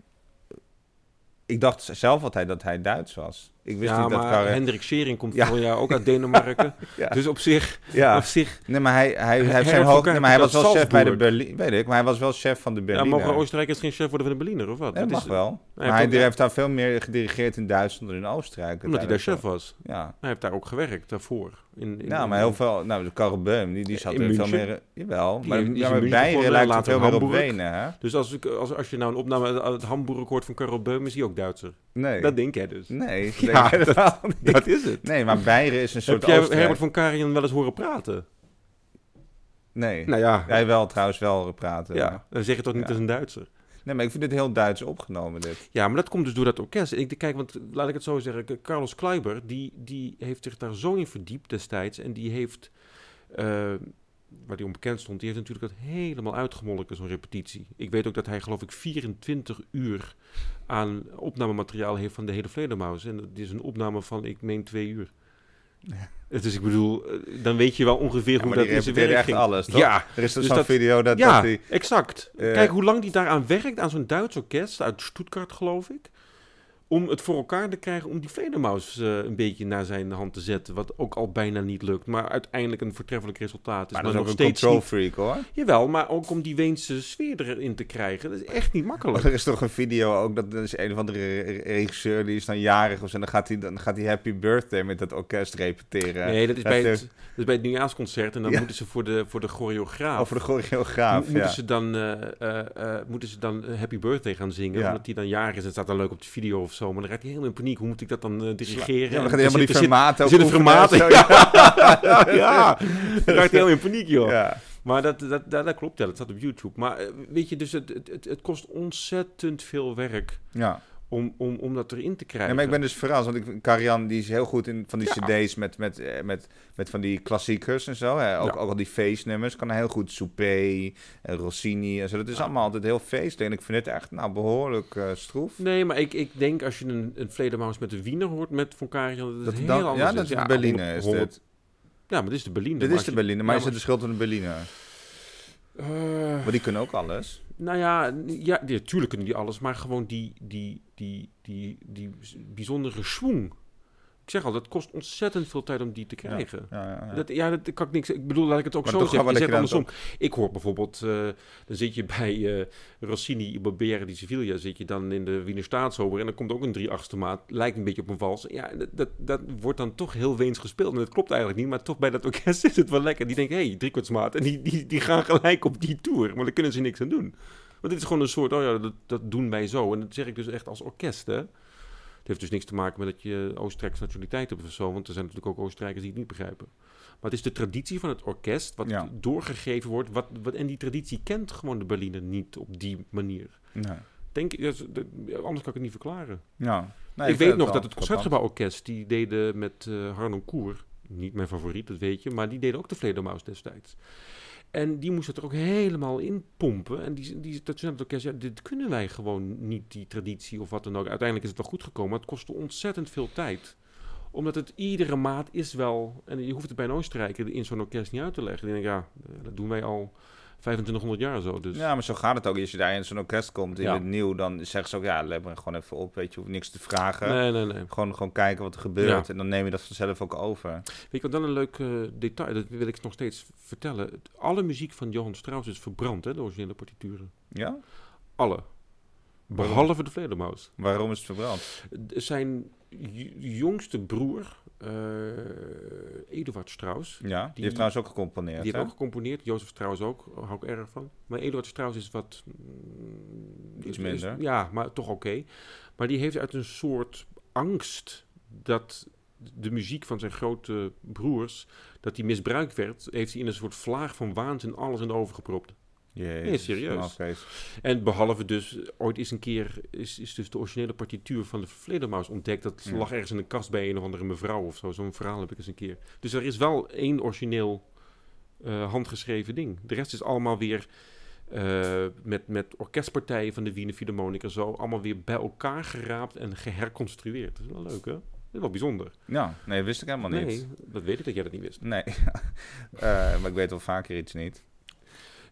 A: Ik dacht zelf altijd dat hij Duits was. Ik wist
B: ja,
A: niet
B: maar
A: dat Karian...
B: Hendrik Schering komt
A: Ja.
B: vorig jaar ook uit Denemarken.
A: Ja.
B: Dus op zich,
A: Ja,
B: op zich
A: nee, maar hij, hij, hij, heeft
B: Herman
A: zijn
B: van
A: hoog...
B: Kuik
A: Nee, maar hij was
B: uit
A: wel chef bij de
B: Salzburg.
A: Berlin... Weet ik, maar hij was wel chef van de
B: ja,
A: Berliner.
B: mogen Oostenrijkers geen chef worden van de Berliner, of wat?
A: Nee,
B: Dat
A: mag
B: is-
A: wel. Maar
B: heeft
A: hij
B: ook-
A: heeft daar veel meer gedirigeerd in Duitsland dan in Oostenrijk.
B: Omdat hij daar chef was.
A: Ja.
B: Hij heeft daar ook gewerkt, daarvoor. In, in,
A: Ja, maar heel veel. Nou, de Karel Beum, die, die zat
B: In
A: er veel
B: München.
A: meer. Jawel,
B: Die
A: maar,
B: is- die is
A: ja,
B: in
A: maar
B: München
A: Beieren
B: begonnen,
A: lijkt er
B: later
A: veel
B: in
A: meer op
B: Hamburg.
A: Wenen, hè?
B: Dus als, ik, als, als je nou een opname uit, uit Hamburg hoort van Karel Beum, is hij ook Duitser.
A: Nee.
B: Dat denk jij dus.
A: nee, ik
B: Ja,
A: denk het wel niet.
B: Dat is het.
A: Nee, maar Beieren is een soort.
B: Heb jij
A: Oostenrijk.
B: Herbert van Karijan wel eens horen praten?
A: Nee.
B: Nou ja,
A: Hij wel trouwens wel praten.
B: ja. dan zeg je toch niet
A: Ja.
B: als een Duitser?
A: Nee, maar ik vind dit heel Duits opgenomen. Dit.
B: Ja, maar dat komt dus door dat orkest. En ik kijk, want laat ik het zo zeggen. K- Carlos Kleiber, die, die heeft zich daar zo in verdiept destijds. En die heeft, eh, waar die onbekend stond, die heeft natuurlijk dat helemaal uitgemolken, zo'n repetitie. Ik weet ook dat hij, geloof ik, 24 uur aan opnamemateriaal heeft van de hele Vledermaus. En dat is een opname van, ik meen, twee uur. Dus ik bedoel, eh, dan weet je wel ongeveer
A: Ja,
B: hoe
A: maar
B: dat
A: die
B: in zijn
A: repeteerde
B: werk
A: echt
B: ging.
A: alles, toch?
B: Ja,
A: Er is dus
B: Dus
A: zo'n
B: dat-
A: video dat,
B: ja,
A: dat die.
B: exact.
A: Eh,
B: Kijk hoe lang die daaraan werkt, aan zo'n Duits orkest uit Stuttgart, geloof ik. Om het voor elkaar te krijgen om die Vledermaus eh, een beetje naar zijn hand te zetten. Wat ook al bijna niet lukt, maar uiteindelijk een voortreffelijk resultaat is.
A: Maar dat is
B: nog
A: ook een
B: steeds
A: control
B: niet-
A: freak hoor.
B: Jawel, maar ook om die Weense sfeer erin te krijgen. Dat is echt niet makkelijk.
A: Er is toch een video ook dat er is een of andere re- regisseur die is dan jarig of zo. En dan gaat hij, dan gaat hij Happy Birthday met dat orkest repeteren.
B: Nee, dat is
A: dat
B: bij
A: is-
B: het, dat is bij het nieuwjaarsconcert. En dan
A: Ja.
B: moeten ze voor de, voor de choreograaf...
A: Over de
B: mo-
A: choreograaf.
B: moeten,
A: Ja.
B: ze dan, eh, eh, eh, moeten ze dan eh, Happy Birthday gaan zingen?
A: Ja.
B: Omdat die dan jarig is. Het staat dan leuk op de video of zo. Maar dan raakt hij helemaal in paniek. Hoe moet ik dat dan eh, dirigeren?
A: Ja,
B: En
A: maar dan
B: er
A: gaat hij helemaal
B: zit-
A: die
B: er zit-
A: formaten
B: Er zit een
A: oefenen en
B: formaat in.
A: zo,
B: Ja, ja. Dan raakt hij heel in paniek, joh.
A: Ja.
B: Maar dat, dat, dat, dat klopt, ja. Dat staat op YouTube. Maar eh, weet je, dus het, het, het, het kost ontzettend veel werk
A: ja.
B: om, om, om dat erin te
A: Nee,
B: krijgen.
A: maar ik ben dus verrast, want ik, Karian die is heel goed in van die
B: Ja.
A: cd's met, met, eh, met, met van die klassiekers en zo. Hè? Ook,
B: Ja.
A: ook al die feestnummers. Kan hij heel goed Soupé, en Rossini en zo. Dat is
B: Ja.
A: allemaal altijd heel feestelijk. En ik vind het echt nou, behoorlijk eh, stroef.
B: Nee, maar ik, ik denk als je een, een Vledermaus met de Wiener hoort, met Von Karijan, dat het
A: Dat
B: heel
A: dan-
B: anders dus
A: ja, dat is de Berliner.
B: honderd-
A: Is
B: honderd-
A: dit.
B: Ja, maar dit is de Berliner.
A: dit
B: maar
A: is de
B: als je-
A: Berliner, maar
B: ja,
A: is het de schuld van de Berliner?
B: maar- Eh,
A: Want die kunnen ook alles.
B: Nou ja, n- ja, ja, tuurlijk kunnen die alles, maar gewoon die, die, die, die, die bijzondere schwung. Ik zeg al, dat kost ontzettend veel tijd om die te krijgen.
A: Ja, ja, ja.
B: Dat, ja, dat kan ik niks. Ik bedoel, laat ik het ook
A: Maar
B: zo
A: toch
B: zeggen.
A: wel
B: Je zegt
A: lekker aan
B: andersom. Ik hoor bijvoorbeeld, eh, dan zit je bij eh, Rossini, Barbera di Siviglia, zit je dan in de Wiener Staatsober en dan komt ook een 3 achtste maat. Lijkt een beetje op een vals. Ja, dat, dat, dat wordt dan toch heel weens gespeeld. En dat klopt eigenlijk niet, maar toch bij dat orkest is het wel lekker. Die denken, hé, hey, driekwartsmaat. En die, die, die gaan gelijk op die tour, maar daar kunnen ze niks aan doen. Want dit is gewoon een soort, oh ja, dat, dat doen wij zo. En dat zeg ik dus echt als orkest, hè. Het heeft dus niks te maken met dat je Oostenrijkse nationaliteit hebt of zo. Want er zijn natuurlijk ook Oostenrijkers die het niet begrijpen. Maar het is de traditie van het orkest wat
A: Ja.
B: doorgegeven wordt. Wat, wat, en die traditie kent gewoon de Berliner niet op die manier.
A: Nee.
B: Denk, ik- dat is- dat- anders kan ik het niet verklaren.
A: Ja. Nee,
B: ik
A: vind wel
B: weet nog dat het
A: grappig.
B: Concertgebouworkest, die deden met eh Harnon Koer, niet mijn favoriet, dat weet je, maar die deden ook de Vledermaus destijds. En die moest het er ook helemaal in pompen. En die, die, dat ze het orkest, ja, dit kunnen wij gewoon niet, die traditie of wat dan ook. Uiteindelijk is het wel goed gekomen, maar het kostte ontzettend veel tijd. Omdat het iedere maat is wel, en je hoeft het bij een Oostenrijker in zo'n orkest niet uit te leggen. Die denkt, ja, eh, dat doen wij al 2500 jaar zo. Dus.
A: Ja, maar zo gaat het ook. Als je daar in zo'n orkest komt, in
B: Ja.
A: het nieuw, dan zeggen ze ook, ja, let me gewoon even op, weet je, hoef niks te vragen.
B: Nee, nee, nee.
A: Gewoon, gewoon kijken wat er gebeurt
B: Ja.
A: en dan neem je dat vanzelf ook over.
B: Weet je wat dan een leuk eh, detail, dat wil ik nog steeds vertellen. Het- Alle muziek van Johan Strauss is verbrand, hè, de originele partituren.
A: Ja?
B: Alle. Behalve de Vledermaus.
A: Waarom is het verbrand?
B: D- Zijn j- jongste broer, eh Eduard Strauss,
A: Ja, die,
B: Die-
A: heeft trouwens ook gecomponeerd.
B: die
A: hè?
B: heeft ook gecomponeerd. Jozef Strauss ook, daar hou ik erg van. Maar Eduard Strauss is wat... mm,
A: Iets
B: is- is-
A: minder.
B: ja, maar toch oké. Maar die heeft uit een soort angst dat de muziek van zijn grote broers, dat die misbruikt werd, heeft hij in een soort vlaag van waanzin alles in de oven gepropt.
A: Jezus,
B: Nee, serieus.
A: nou, vrees.
B: En behalve dus, ooit is een keer, is, is dus de originele partituur van de Vledermaus ontdekt. Dat
A: Ja.
B: lag ergens in een kast bij een of andere mevrouw of zo. Zo'n verhaal heb ik eens een keer. Dus er is wel één origineel eh, handgeschreven ding. De rest is allemaal weer eh, eh, met, met orkestpartijen van de Wiener Philharmonic en zo, allemaal weer bij elkaar geraapt en geherconstrueerd. Dat is wel leuk, hè? Dat is wel bijzonder.
A: Ja, nee, wist ik helemaal niet.
B: Nee, dat weet ik dat jij dat niet wist.
A: Nee, Eh, maar ik weet wel vaker iets niet.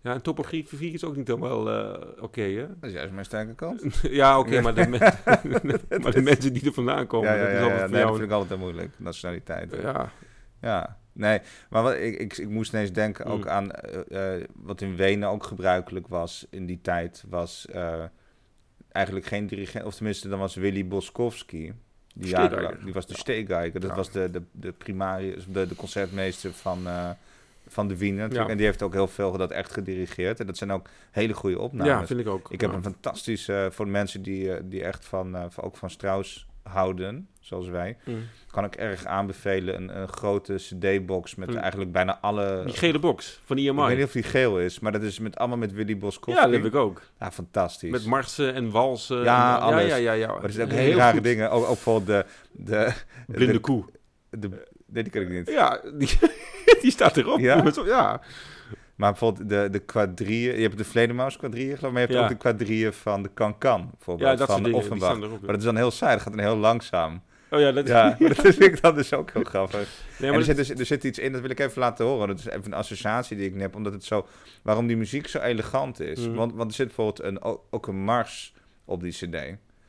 B: Ja, en topografie is ook niet helemaal eh, oké, hè?
A: Dat is juist mijn sterke kant.
B: Ja, oké, maar, de men- maar de mensen die er vandaan komen,
A: ja, ja,
B: dat
A: ja,
B: is
A: ja,
B: altijd voor
A: nee, dat
B: jou
A: vind ik altijd heel moeilijk, nationaliteit.
B: een-
A: Ja.
B: Ja,
A: Nee, maar wat, ik, ik, ik moest ineens denken ook
B: Mm.
A: aan eh, eh, wat in Wenen ook gebruikelijk was in die tijd, was eh, eigenlijk geen dirigent, of tenminste dan was Willy Boskowski. Die,
B: Steegeiger.
A: jarenlang- die was de
B: Ja.
A: Steegeiger, dat
B: Ja.
A: was de, de, de primarius, de, de concertmeester van, eh, van de Wiener. natuurlijk.
B: Ja.
A: En die heeft ook heel veel dat echt gedirigeerd. En dat zijn ook hele goede opnames.
B: ja, vind ik ook.
A: Nou, Ik heb
B: Ja.
A: een fantastische, eh, voor de mensen die, eh, die echt van, eh, van- ook van Strauss houden, zoals wij,
B: Mm.
A: kan ik erg aanbevelen een, een grote cd-box met
B: Hmm.
A: eigenlijk bijna alle...
B: Die gele box van
A: ik weet niet
B: IMI.
A: of die geel is, maar dat is met, allemaal met Willy Boskowski.
B: Ja, dat heb ik ook.
A: Ja, fantastisch.
B: Met marsen en walsen.
A: Ja,
B: en,
A: alles.
B: Ja, ja, ja, ja.
A: maar er zijn ook
B: Heel
A: hele rare
B: goed.
A: dingen. Ook, ook bijvoorbeeld de... de,
B: Blinde
A: de-
B: koe.
A: de, nee, die ken ik niet.
B: Ja, die, die staat erop.
A: Ja?
B: Met zo- ja.
A: Maar bijvoorbeeld de, de quadrille... Je hebt de vleermuis quadrille, geloof ik. Maar je hebt
B: Ja.
A: ook de quadrille van de Cancan, bijvoorbeeld.
B: ja
A: van
B: dat soort dingen. Die
A: Offenbach.
B: staan erop. ja.
A: Maar dat is dan heel saai. Dat gaat dan heel langzaam.
B: Oh ja, dat is...
A: Ja, maar dat vind ik dan dus ook heel grappig.
B: Nee,
A: en
B: maar
A: er, zit, dus- er zit iets in, dat wil ik even laten horen. Dat is even een associatie die ik heb, omdat het zo... Waarom die muziek zo elegant is.
B: Mhm.
A: Want, want er zit bijvoorbeeld een, o- ook een mars op die cd.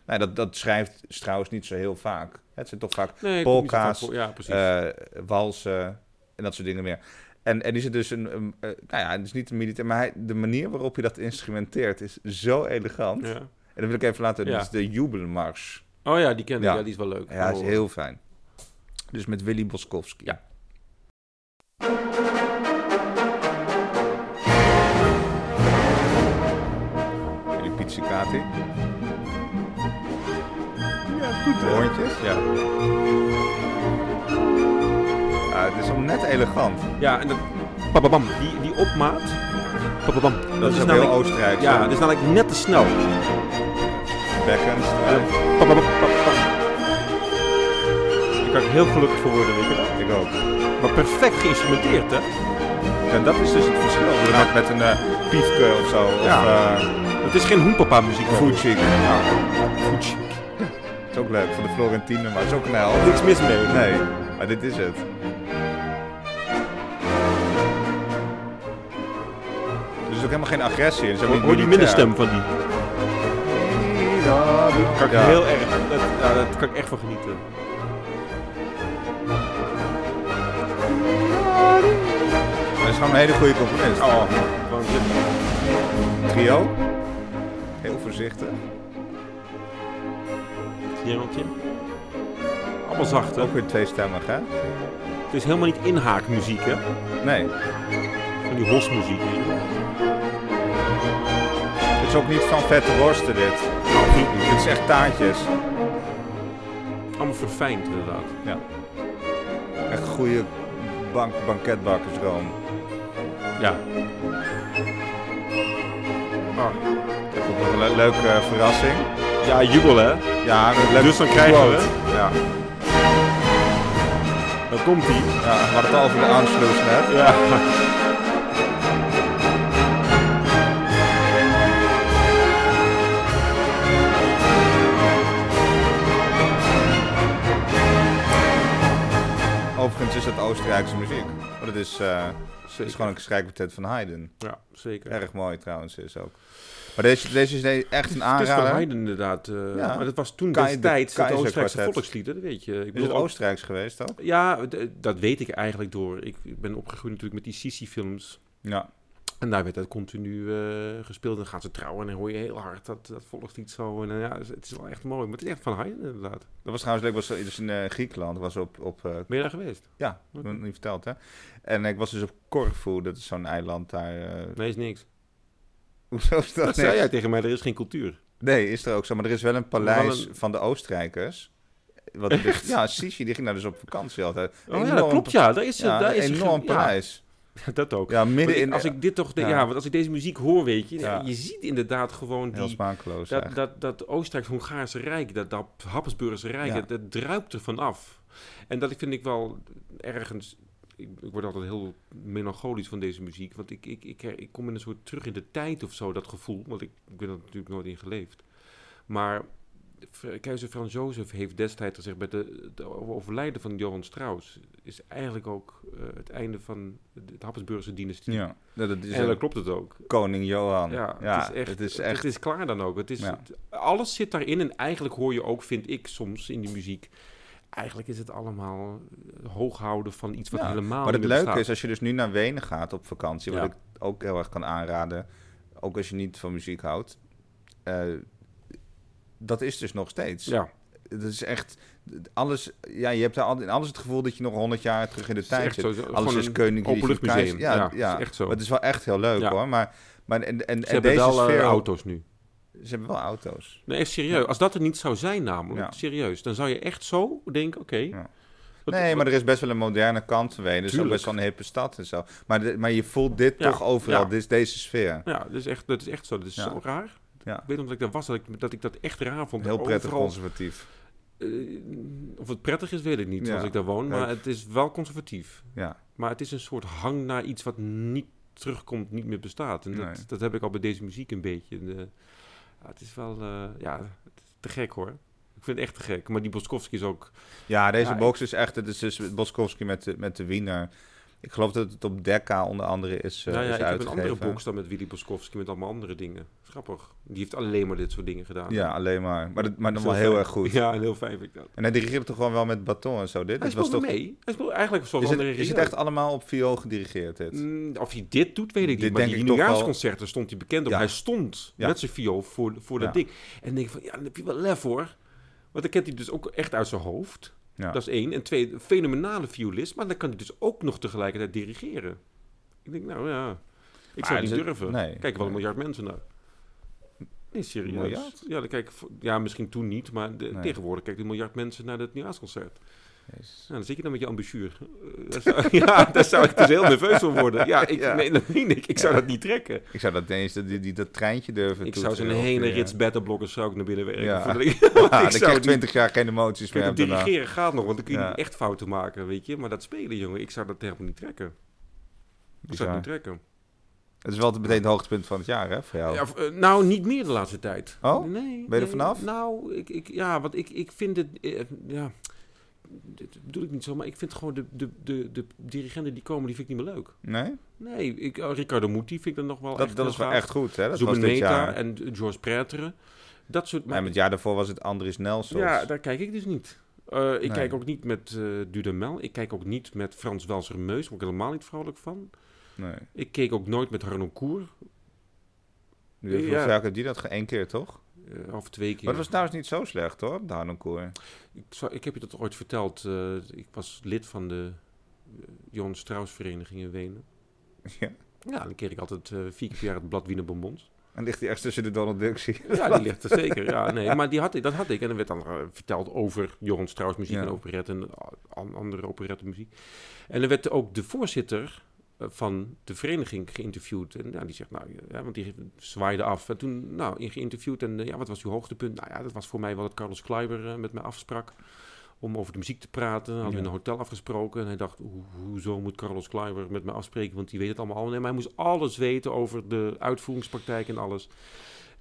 A: Nou, dat, dat schrijft trouwens niet zo heel vaak. Het zit toch vaak
B: dat- nee, ik kom niet zo
A: polka's,
B: vaak voor. Ja, precies.
A: eh, walsen en dat soort dingen meer. En, en die zit dus een... een, eh, nou ja, het is niet een militair, maar hij- de manier waarop je dat instrumenteert is zo elegant. En
B: ja.
A: dat wil ik even laten horen.
B: Ja.
A: Dat is de jubelmars.
B: Oh ja, die ken ik.
A: Ja.
B: Ja. die is wel leuk. Oh.
A: Ja, dat is heel fijn. Dus met Willy Boskowski.
B: Ja.
A: Willy Pizzicati.
B: Ja, goed.
A: De hoortjes.
B: Ja.
A: Ja, het is om net elegant.
B: Ja, en dat... Bababam, die, die opmaat. Bababam. Dat,
A: is ook
B: namelijk-
A: heel Oostenrijks,
B: Ja,
A: hè?
B: dat is namelijk net te snel.
A: Bekken, strijd.
B: Bababam, bababam. Daar kan ik heel gelukkig voor worden, weet je wel.
A: Ik ook.
B: Maar perfect geïnstrumenteerd, hè?
A: En dat is dus het verschil. Met, met een eh, piefke of zo. Of
B: Ja.
A: eh,
B: Het is geen hoenpapa muziek.
A: Fuji. Ja,
B: Voetje.
A: dat is ook leuk. Van de Florentine, maar het is ook een hel.
B: Niks mis mee.
A: Nee, maar dit is het. Er is ook helemaal geen agressie. in. Ze
B: Hoor,
A: hebben
B: hoor die
A: militair.
B: middenstem van die. Kan ik
A: Ja.
B: heel erg. Dat, ja, dat kan ik echt van genieten.
A: Dat is gewoon een hele goede componist.
B: Oh, waanzinnig.
A: Trio. Heel voorzichtig.
B: Jereltje. Allemaal zacht, hè?
A: Ook weer tweestemmig, hè?
B: Het is helemaal niet inhaakmuziek, hè?
A: Nee.
B: Van die hosmuziek. weet je wel.
A: Het is ook niet van vette worsten, dit. Dit is echt taartjes.
B: Allemaal verfijnd, inderdaad.
A: Ja. Echt goede bank banketbakkersroom.
B: Ja. Ah.
A: Ik vond het een le- leuke eh, verrassing.
B: Ja, jubel, hè?
A: Ja, een leuke
B: Dus dan krijgen we-
A: quote. Ja.
B: Dan komt ie.
A: ja, we hadden het al over de aansluis net.
B: Ja.
A: Overigens is dat Oostenrijkse muziek. Maar dat is, eh, het is gewoon een strijkbetet van Haydn.
B: Ja, zeker.
A: Erg mooi trouwens is ook. Maar deze, deze is nee, echt een
B: Het is van
A: aanrader.
B: Haydn inderdaad. eh,
A: Ja.
B: Maar dat was toen
A: Kei- de
B: destijds het
A: Keizer
B: Oostenrijkse
A: kwartet.
B: volksliederen, dat weet je. Ik
A: Is het
B: bedoel, ook-
A: Oostenrijks geweest ook?
B: Ja, d- dat weet ik eigenlijk door. Ik ik ben opgegroeid natuurlijk met die Sisi-films.
A: Ja.
B: En daar werd dat continu eh, gespeeld. En dan gaan ze trouwen en dan hoor je heel hard dat, dat volgt iets zo. En eh, ja, dus het is wel echt mooi. Maar het is echt van Haydn inderdaad.
A: Dat was trouwens leuk. Was, eh, dus in eh, Griekenland was op, op eh,
B: Ben je daar geweest?
A: Ja,
B: Oké.
A: dat heb ik niet verteld, hè? En ik was dus op Corfu, dat is zo'n eiland daar. eh,
B: Nee, is niks.
A: Hoezo is
B: Dat,
A: dat
B: zei
A: niks?
B: jij tegen mij, er is geen cultuur.
A: Nee, is er ook zo. Maar er is wel een paleis
B: Wel
A: van de Oostenrijkers. Wat dus, ja, Sisi, die ging daar dus op vakantie altijd.
B: Oh ja, dat klopt ja. Daar is,
A: Ja,
B: daar is
A: een enorm
B: ja,
A: paleis.
B: dat ook.
A: Ja, midden
B: Want ik-
A: in...
B: als ik dit toch, de-
A: Ja.
B: ja. want als ik deze muziek hoor, weet je,
A: Ja.
B: je ziet inderdaad gewoon
A: Heel
B: die,
A: smakeloos
B: dat,
A: eigenlijk.
B: dat, dat Oostenrijks-Hongaarse Rijk, dat, dat Habsburgse Rijk,
A: Ja.
B: dat, dat druipt er van af. En dat vind ik wel ergens ik, ik word altijd heel melancholisch van deze muziek. Want ik, ik, ik, her- ik kom in een soort terug in de tijd of zo, dat gevoel. Want ik, ik ben er natuurlijk nooit in geleefd. Maar Fr- keizer Frans Jozef heeft destijds gezegd... bij de, de overlijden van Johan Strauss... is eigenlijk ook eh, het einde van de, de Habsburgse dynastie.
A: Ja, dat dat is
B: en dan
A: ook
B: klopt het ook.
A: koning Johan.
B: Ja, het is echt,
A: het is echt
B: het is klaar dan ook. Het is,
A: Ja.
B: het- alles zit daarin en eigenlijk hoor je ook, vind ik soms in die muziek, eigenlijk is het allemaal eh, hooghouden van iets wat
A: Ja,
B: helemaal
A: Maar
B: niet
A: het
B: meer
A: leuke
B: bestaat.
A: is, als je dus nu naar Wenen gaat op vakantie, wat
B: Ja.
A: ik ook heel erg kan aanraden, ook als je niet van muziek houdt, eh, dat is dus nog steeds.
B: Ja,
A: Het is echt alles. Ja, je hebt daar al- in alles het gevoel dat je nog 100 jaar terug in de
B: het is
A: tijd
B: echt
A: zit.
B: zo. zo-
A: Alles
B: gewoon
A: is
B: een
A: koning
B: openluchtmuseum.
A: Ja,
B: Ja,
A: ja.
B: is echt zo.
A: Maar het is wel echt heel leuk
B: Ja.
A: hoor. Maar, maar en, en,
B: Ze
A: en
B: hebben
A: deze
B: wel eh,
A: sfeer. ook-
B: auto's nu.
A: Ze hebben wel auto's.
B: Nee, echt serieus. Als dat er niet zou zijn namelijk,
A: Ja.
B: serieus, dan zou je echt zo denken, oké.
A: Ja. nee, maar er is best wel een moderne kant van Wenen. Het is ook
B: Tuurlijk.
A: best wel een hippe stad en zo. Maar, de- maar je voelt dit
B: Ja,
A: toch overal.
B: ja.
A: Dit is deze sfeer.
B: ja, dat is echt, dat is echt zo. Dat is
A: Ja.
B: zo raar.
A: Ja.
B: Ik weet nog dat ik daar was, dat ik dat, ik dat echt raar vond.
A: Heel prettig
B: Overal
A: conservatief.
B: Eh, of het prettig is, weet ik niet,
A: Ja,
B: als ik daar woon. Maar
A: leuk.
B: het is wel conservatief.
A: Ja.
B: Maar het is een soort hang naar iets wat niet terugkomt, niet meer bestaat. En dat,
A: Nee.
B: dat heb ik al bij deze muziek een beetje. En, eh, ja, het is wel eh, ja, het is te gek hoor. Ik vind het echt te gek. Maar die Boskowski is ook...
A: Ja, deze
B: Ja,
A: box is echt. Het is dus Boskowski met de, met de Wiener. Ik geloof dat het op Decca onder andere is, eh
B: nou ja,
A: is
B: ik heb een
A: uitgegeven.
B: andere box dan met Willy Boskowski, met allemaal andere dingen. Grappig. Die heeft alleen maar dit soort dingen gedaan.
A: Ja, alleen maar. Maar, dat, maar dan
B: Dat
A: wel
B: is
A: heel
B: fijn.
A: erg goed.
B: Ja, en heel fijn vind ik dat.
A: En hij dirigeerde toch gewoon wel met baton en zo. Dit
B: Hij
A: Het was
B: speelde
A: toch,
B: mee. Hij speelde eigenlijk zoals
A: Is het,
B: andere
A: is het
B: Rio.
A: echt allemaal op viool gedirigeerd? Dit?
B: Mm, Of hij dit doet, weet ik
A: Dit
B: niet. Maar
A: denk
B: die
A: ik toch wel.
B: nieuwjaarsconcerten stond hij bekend op.
A: Ja.
B: Hij stond
A: Ja.
B: met zijn viool voor, voor dat
A: Ja.
B: ding. En dan denk ik van, ja, dan heb je wel lef hoor. Want dan kent hij dus ook echt uit zijn hoofd.
A: Ja.
B: Dat is één. En twee, een fenomenale violist. Maar dan kan hij dus ook nog tegelijkertijd dirigeren. Ik denk, nou ja, ik
A: Maar
B: zou
A: dus
B: het niet
A: het-
B: durven.
A: nee.
B: Kijk, wel een
A: Nee.
B: miljard mensen nou. Nee, serieus.
A: Miljard?
B: Ja, dan kijk, ik voor- ja, misschien toen niet, maar de-
A: Nee.
B: tegenwoordig kijkt een miljard mensen naar dat nieuwjaarsconcert.
A: Jezus.
B: Nou, dan zit je dan met je ambusuur. Eh, daar zou- ja, daar zou ik dus heel nerveus van worden. Ja, ik,
A: Ja.
B: Nee, dat meen ik. Ik zou dat niet trekken.
A: Ik zou dat eens die, die, dat treintje durven
B: Ik zou
A: toeteren
B: zo'n
A: of
B: hele
A: die, eh,
B: rits betterblokkers zou ik naar binnen werken.
A: Ja.
B: voordat ik,
A: Ja, Ah,
B: want
A: dan
B: ik
A: krijg
B: zou
A: je
B: niet...
A: 20 jaar geen emoties meer
B: Kijk,
A: hebben. daarna.
B: dirigeren gaat nog, want dan kun je
A: Ja.
B: echt fouten maken, weet je. Maar dat spelen, jongen, ik zou dat helemaal niet trekken. Ik zou
A: Bizar.
B: het niet trekken.
A: Het is wel het- meteen het hoogtepunt van het jaar, hè, voor jou?
B: Ja, of, eh, nou, niet meer de laatste tijd.
A: Oh?
B: Nee.
A: Ben je er
B: nee.
A: vanaf?
B: Nou, ik, ik, ja, want ik, ik vind het... eh, ja, dit bedoel ik niet zo, maar ik vind gewoon de, de, de, de dirigenten die komen, die vind ik niet meer leuk.
A: Nee?
B: Nee, ik, eh, Riccardo Muti vind ik dan nog wel
A: Dat,
B: echt
A: dat
B: heel
A: is wel
B: gaaf.
A: echt goed, hè? Dat was dit
B: Zubaneta
A: jaar.
B: en George Preteren. Dat soort...
A: En het jaar daarvoor was het Andries Nelson.
B: ja, daar kijk ik dus niet. Eh, ik
A: Nee.
B: kijk ook niet met eh Dudamel. Ik kijk ook niet met Frans Welser Meus. Daar word ik helemaal niet vrolijk van.
A: Nee.
B: Ik keek ook nooit met Harnon Koer.
A: Nu
B: Ja.
A: ja. heb die dat ge- één keer, toch?
B: eh, of twee keer.
A: Maar dat was nou- trouwens niet zo slecht, hoor, de Hanenkoer.
B: ik, zou- ik heb je dat ooit verteld. eh, ik was lid van de eh, Johan Strauss Vereniging in Wenen.
A: Ja.
B: Ja, dan kreeg ik altijd eh, vier keer per jaar het blad Wiener Bonbons.
A: En ligt hij echt tussen de Donald Ducks hier.
B: Ja, die ligt er zeker. Ja, nee, maar die had ik, dat had ik. En er werd dan eh, verteld over Johan Strauss muziek
A: Ja.
B: en operetten en a- an- andere operettenmuziek. En er werd ook de voorzitter eh, van de vereniging geïnterviewd. En ja, die zegt, nou, ja, want die zwaaide af. En toen, nou, in geïnterviewd. En eh, ja, wat was uw hoogtepunt? Nou ja, dat was voor mij wel dat Carlos Kleiber eh, met mij afsprak. Om over de muziek te praten. Hadden we in
A: Ja.
B: een hotel afgesproken. En hij dacht, "Ho- hoezo moet Carlos Kleiber met mij afspreken? Want die weet het allemaal al. Nee, maar hij moest alles weten over de uitvoeringspraktijk en alles.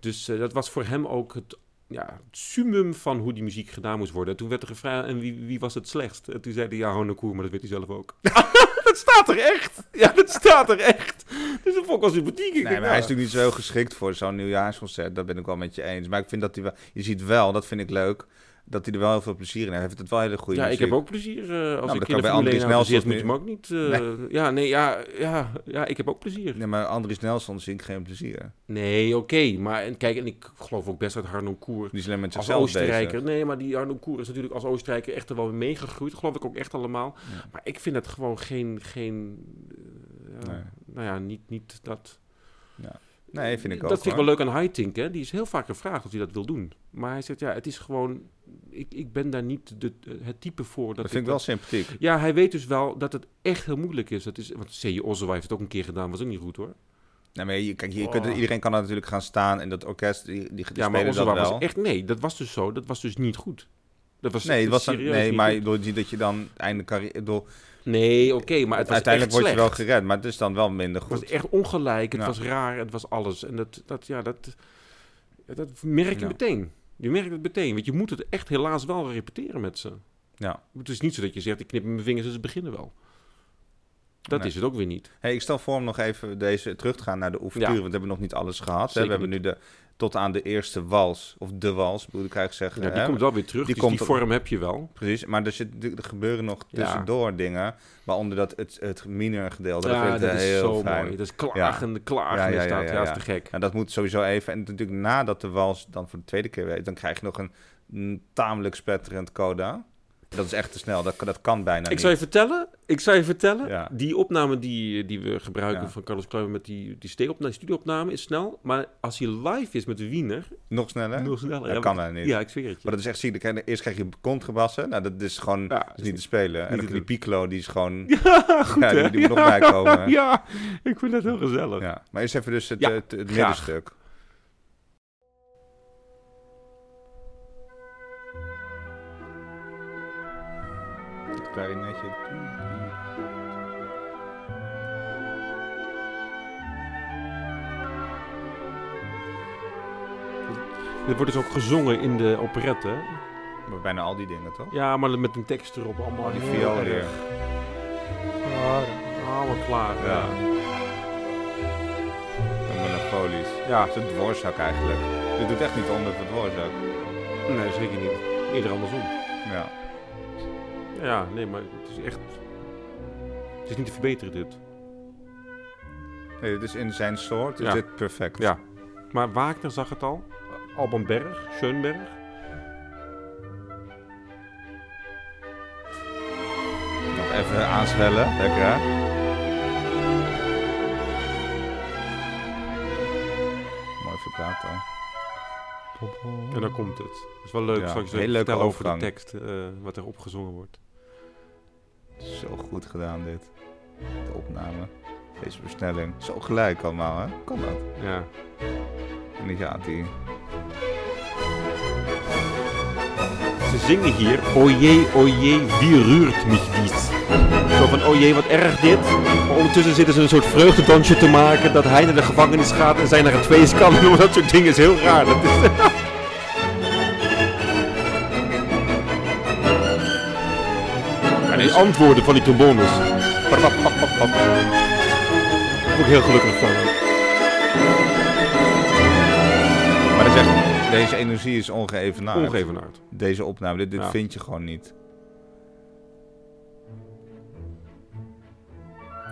B: Dus eh, dat was voor hem ook het, ja, het summum van hoe die muziek gedaan moest worden. En toen werd er gevraagd, en wie, wie was het slechtst? En toen zei hij, ja, Honekoer, maar dat weet hij zelf ook. dat staat er echt! Ja, dat staat er echt! Dus dat vond ik wel sympathiek. Ik
A: Nee,
B: denk,
A: maar hij is
B: ja.
A: natuurlijk niet zo heel geschikt voor zo'n nieuwjaarsconcert. Dat ben ik wel met je eens. Maar ik vind dat hij wel... Je ziet wel, dat vind ik leuk, dat hij er wel heel veel plezier in heeft. Hij vindt het wel hele goede
B: Ja, ik
A: muziek. Nou,
B: heb ook plezier. eh, als
A: dat
B: ik
A: kan
B: in de
A: bij
B: Formule
A: Andries
B: 1 auto
A: Nelson
B: zit, moet je
A: nu.
B: hem ook niet... eh, Ja, nee, ja, ja, ja, ik heb ook plezier.
A: Nee, maar Andries Nelson zie ik geen plezier.
B: Nee, oké, maar en kijk, en ik geloof ook best dat Harnon Koer
A: Die is alleen met
B: Als
A: zichzelf
B: Oostenrijker.
A: bezig.
B: Nee, maar die Arno Koer is natuurlijk als Oostenrijker echt er wel mee gegroeid. Geloof ik ook echt allemaal.
A: Ja.
B: Maar ik vind het gewoon geen... geen eh, ja,
A: Nee.
B: Nou ja, niet, niet dat...
A: Nee, vind ik
B: dat
A: ook,
B: vind ik wel leuk aan Haitink, hè. Die is heel vaak gevraagd of hij dat wil doen. Maar hij zegt, ja, het is gewoon... Ik, ik ben daar niet de, het type voor. Dat,
A: Dat vind ik wel sympathiek.
B: Ja, hij weet dus wel dat het echt heel moeilijk is. Dat is want C.J. Ozzewij heeft het ook een keer gedaan. Was ook niet goed, hoor.
A: Nee, maar je, kijk, je
B: Oh.
A: kunt, iedereen kan daar natuurlijk gaan staan en dat orkest, die, die, die
B: Ja, maar
A: spelen dat
B: Ozzewij
A: wel.
B: was echt... Nee, dat was dus zo. Dat was dus niet goed. Dat was
A: Nee, het was dan,
B: serieus
A: nee
B: niet
A: maar
B: goed.
A: ik bedoel, niet dat je dan einde carrière... Ik bedoel,
B: Nee, oké, maar het was
A: Uiteindelijk
B: echt
A: word je wel
B: slecht.
A: gered, maar het is dan wel minder
B: Het
A: goed.
B: was echt ongelijk, het
A: Ja.
B: was raar, het was alles. En dat, dat, ja, dat, dat merk je
A: Ja.
B: meteen. Je merkt het meteen, want je moet het echt helaas wel repeteren met ze.
A: Ja.
B: Het is niet zo dat je zegt, ik knip met mijn vingers en ze beginnen wel. Dat
A: Nee.
B: is het ook weer niet.
A: Hey, ik stel voor om nog even deze, terug te gaan naar de oefentuur,
B: Ja.
A: want we hebben nog niet alles gehad. Hè?
B: Zeker
A: We hebben nu de, tot aan de eerste wals, of de wals, moet ik eigenlijk zeggen.
B: Ja, die
A: hè?
B: komt wel weer terug,
A: die
B: dus
A: komt Oh,
B: die
A: ook-
B: vorm heb je wel.
A: Precies, maar er, zit, er gebeuren nog
B: Ja.
A: tussendoor dingen, waaronder dat het, het minor gedeelte. dat
B: ja,
A: vind ik
B: dat is
A: heel
B: zo
A: fijn.
B: mooi. Dat is klagen, klagen
A: Ja, ja,
B: is
A: ja,
B: dat.
A: ja,
B: Ja, dat
A: ja.
B: is te gek.
A: Nou, dat moet sowieso even. En natuurlijk nadat de wals dan voor de tweede keer weet, dan krijg je nog een, mm, tamelijk spetterend coda. Dat is echt te snel, dat, dat kan bijna
B: ik
A: niet.
B: zou je vertellen, ik zou je vertellen,
A: Ja.
B: die opname die, die we gebruiken
A: Ja.
B: van Carlos Kluiver met die, die steekopname, studioopname is snel. Maar als hij live is met de Wiener,
A: Nog sneller?
B: nog sneller.
A: Dat
B: ja,
A: kan
B: want-
A: bijna niet.
B: Ja, ik zweer het je.
A: Maar dat is echt ziek. Dan krijg je- Eerst krijg je kont gewassen. Nou, dat is gewoon
B: Ja,
A: dat
B: dat
A: is
B: is
A: niet te spelen. En
B: niet
A: dan
B: te
A: die Piccolo, die is gewoon...
B: Ja, goed
A: Ja, die-
B: hè?
A: die moet nog bijkomen.
B: Ja, ik vind dat heel gezellig.
A: Ja. Maar eerst even dus het,
B: Ja,
A: eh, het, het
B: graag.
A: middenstuk. Het klarinetje.
B: Dit wordt dus ook gezongen in de operette. hè?
A: Maar bijna al die dingen, toch?
B: Ja, maar met een tekst erop Oh, allemaal.
A: Al Oh, die
B: heel
A: viool
B: erg.
A: weer.
B: Ja, allemaal klaar.
A: Ja.
B: Ja.
A: En melancholisch.
B: ja,
A: Het is een dwarszak eigenlijk. Dit doet echt niet onder voor dwarszak.
B: nee, zeker niet. Eerder andersom.
A: Ja.
B: Ja, nee, maar het is echt. Het is niet te verbeteren, dit.
A: Nee, dit is in zijn soort is
B: Ja.
A: dit perfect.
B: Ja. Maar Wagner zag het al. Alban Berg, Schönberg.
A: Nog even aanschellen. Lekker hè? Mooi vibrato.
B: En dan komt het. Het is wel leuk
A: Ja,
B: straks
A: hele leuke
B: vertellen over de
A: overgang.
B: tekst eh, wat er opgezongen wordt.
A: Zo goed gedaan dit. De opname. Deze versnelling. Zo gelijk allemaal hè. Kan dat.
B: Ja.
A: En die gaat die.
B: Ze zingen hier, oje, oje, wie ruurt mich dies? Zo van, oje, wat erg dit. Maar ondertussen zitten ze een soort vreugdedansje te maken dat hij naar de gevangenis gaat en zij naar het feest kan. Jongen, Dat soort dingen is heel raar. Dat is... En die antwoorden van die trombones. Pap, pap, pap, pap, pap. Daar word ik heel gelukkig van.
A: Maar dat is echt, deze energie is ongeëvenaard.
B: Ongevenaard.
A: Deze opname, dit, dit
B: Ja.
A: vind je gewoon niet.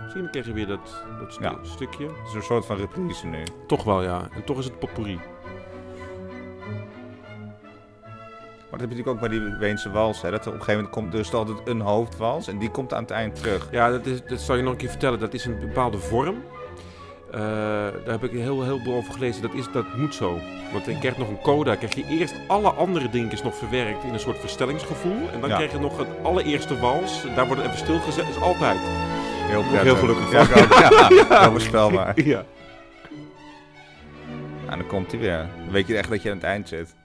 B: Misschien krijg je weer dat, dat stu-
A: Ja.
B: stukje.
A: Het is een soort van reprise nu.
B: Toch wel, ja. En toch is het potpourri.
A: Maar dat heb je natuurlijk ook bij die Weense wals. Hè? Dat er op een gegeven moment komt, er is altijd een hoofdwals en die komt aan het eind terug.
B: Ja, dat, is, dat zal je nog een keer vertellen. Dat is een bepaalde vorm. Eh, daar heb ik heel, heel veel over gelezen. Dat, is, dat moet zo. Want dan krijg je nog een coda. Krijg je eerst alle andere dingetjes nog verwerkt in een soort verstellingsgevoel. En dan
A: Ja.
B: krijg je nog het allereerste wals. Daar wordt het even stilgezet. Dat is altijd.
A: Heel
B: Daar
A: prettig.
B: word ik heel gelukkig
A: Ja, ik ook. Ja, heel voorspelbaar.
B: Ja.
A: En dan komt hij weer. Dan weet je echt dat je aan het eind zit.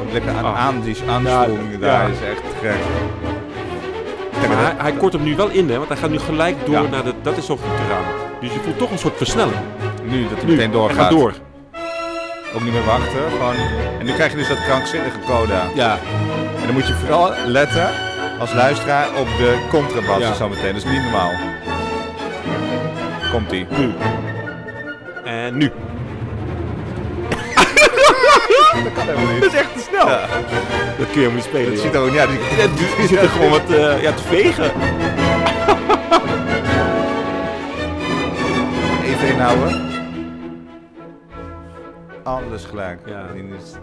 A: Ook Lekker aan,
B: Ah.
A: aan die aanspoeling
B: Ja,
A: daar
B: ja.
A: is echt te gek. Kijk,
B: Maar hij,
A: dat-
B: hij kort hem nu wel in, hè. Want hij gaat nu gelijk door
A: Ja.
B: naar de... Dat is zo goed eraan. Dus je voelt toch een soort versnelling.
A: Nu dat hij
B: Nu.
A: meteen doorgaat.
B: Hij gaat door.
A: Ook niet meer wachten. Gewoon. En nu krijg je dus dat krankzinnige coda.
B: Ja.
A: En dan moet je vooral letten als luisteraar op de contrabassen
B: Ja.
A: zo meteen. Dat is niet normaal. Komt ie.
B: Nu. En nu.
A: Dat kan helemaal
B: Dat
A: niet.
B: is echt te snel.
A: Ja.
B: Dat kun je helemaal niet spelen,
A: Dat
B: joh.
A: ziet ook ja, die,
B: Die zitten gewoon wat eh, ja, te vegen.
A: even inhouden. Alles gelijk.
B: Ja.
A: Die is-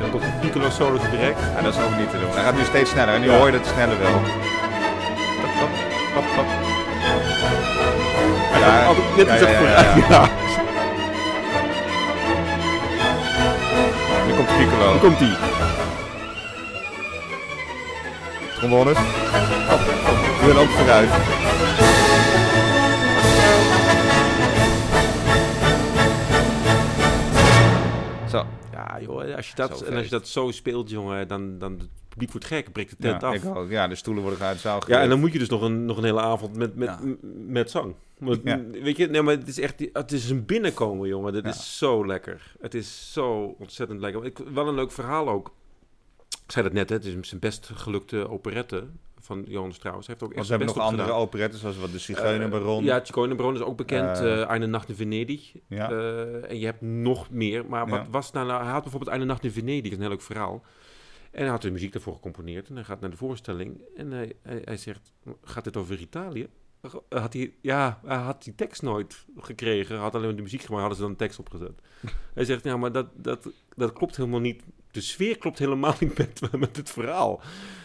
B: Dan komt de piccolo solo direct.
A: Ja, dat is ook niet te doen. Hij gaat nu steeds sneller en nu
B: Ja.
A: hoor je dat sneller wel.
B: Tap, tap, tap, tap.
A: Ja,
B: Altijd net iets
A: ja, ja, ja,
B: achteruit.
A: ja.
B: Ja,
A: Nu komt de piccolo.
B: dan komt die.
A: Trombones. Oh, Die willen ook vooruit.
B: Ja, joh, als je dat,
A: Zo
B: en als je dat zo speelt, jongen, dan, dan het publiek wordt gek, breekt de tent
A: ja,
B: af.
A: ik ook. ja, de stoelen worden uit de zaal
B: Ja, en
A: gegooid.
B: dan moet je dus nog een, nog een hele avond met, met,
A: Ja.
B: m- met zang. Want,
A: Ja.
B: m- Weet je, nee, maar het is echt, het is een binnenkomen, jongen. Dat
A: Ja.
B: is zo lekker. Het is zo ontzettend lekker. Ik, wel een leuk verhaal ook. Ik zei dat net, hè, het is zijn best gelukte operette van Johan Strauss. Hij heeft ook echt
A: Want we hebben
B: zijn best
A: nog
B: op
A: andere
B: gedaan.
A: operettes, zoals wat de
B: Eh,
A: Zigeunerbaron.
B: ja, Chicoine is ook bekend.
A: Eh,
B: eh Eine Nacht in Venedig.
A: ja.
B: Eh, en je hebt nog meer. Maar wat
A: Ja.
B: was nou, nou- Hij had bijvoorbeeld Eine Nacht in Venedig, een heel leuk verhaal. En hij had de muziek daarvoor gecomponeerd. En hij gaat naar de voorstelling. En hij, hij, hij zegt, gaat dit over Italië? eh, Had hij, ja, hij had die tekst nooit gekregen. Hij had alleen maar de muziek gemaakt. Hadden ze dan een tekst opgezet. Hij zegt, ja, maar dat, dat, dat klopt helemaal niet. De sfeer klopt helemaal niet met, met het verhaal.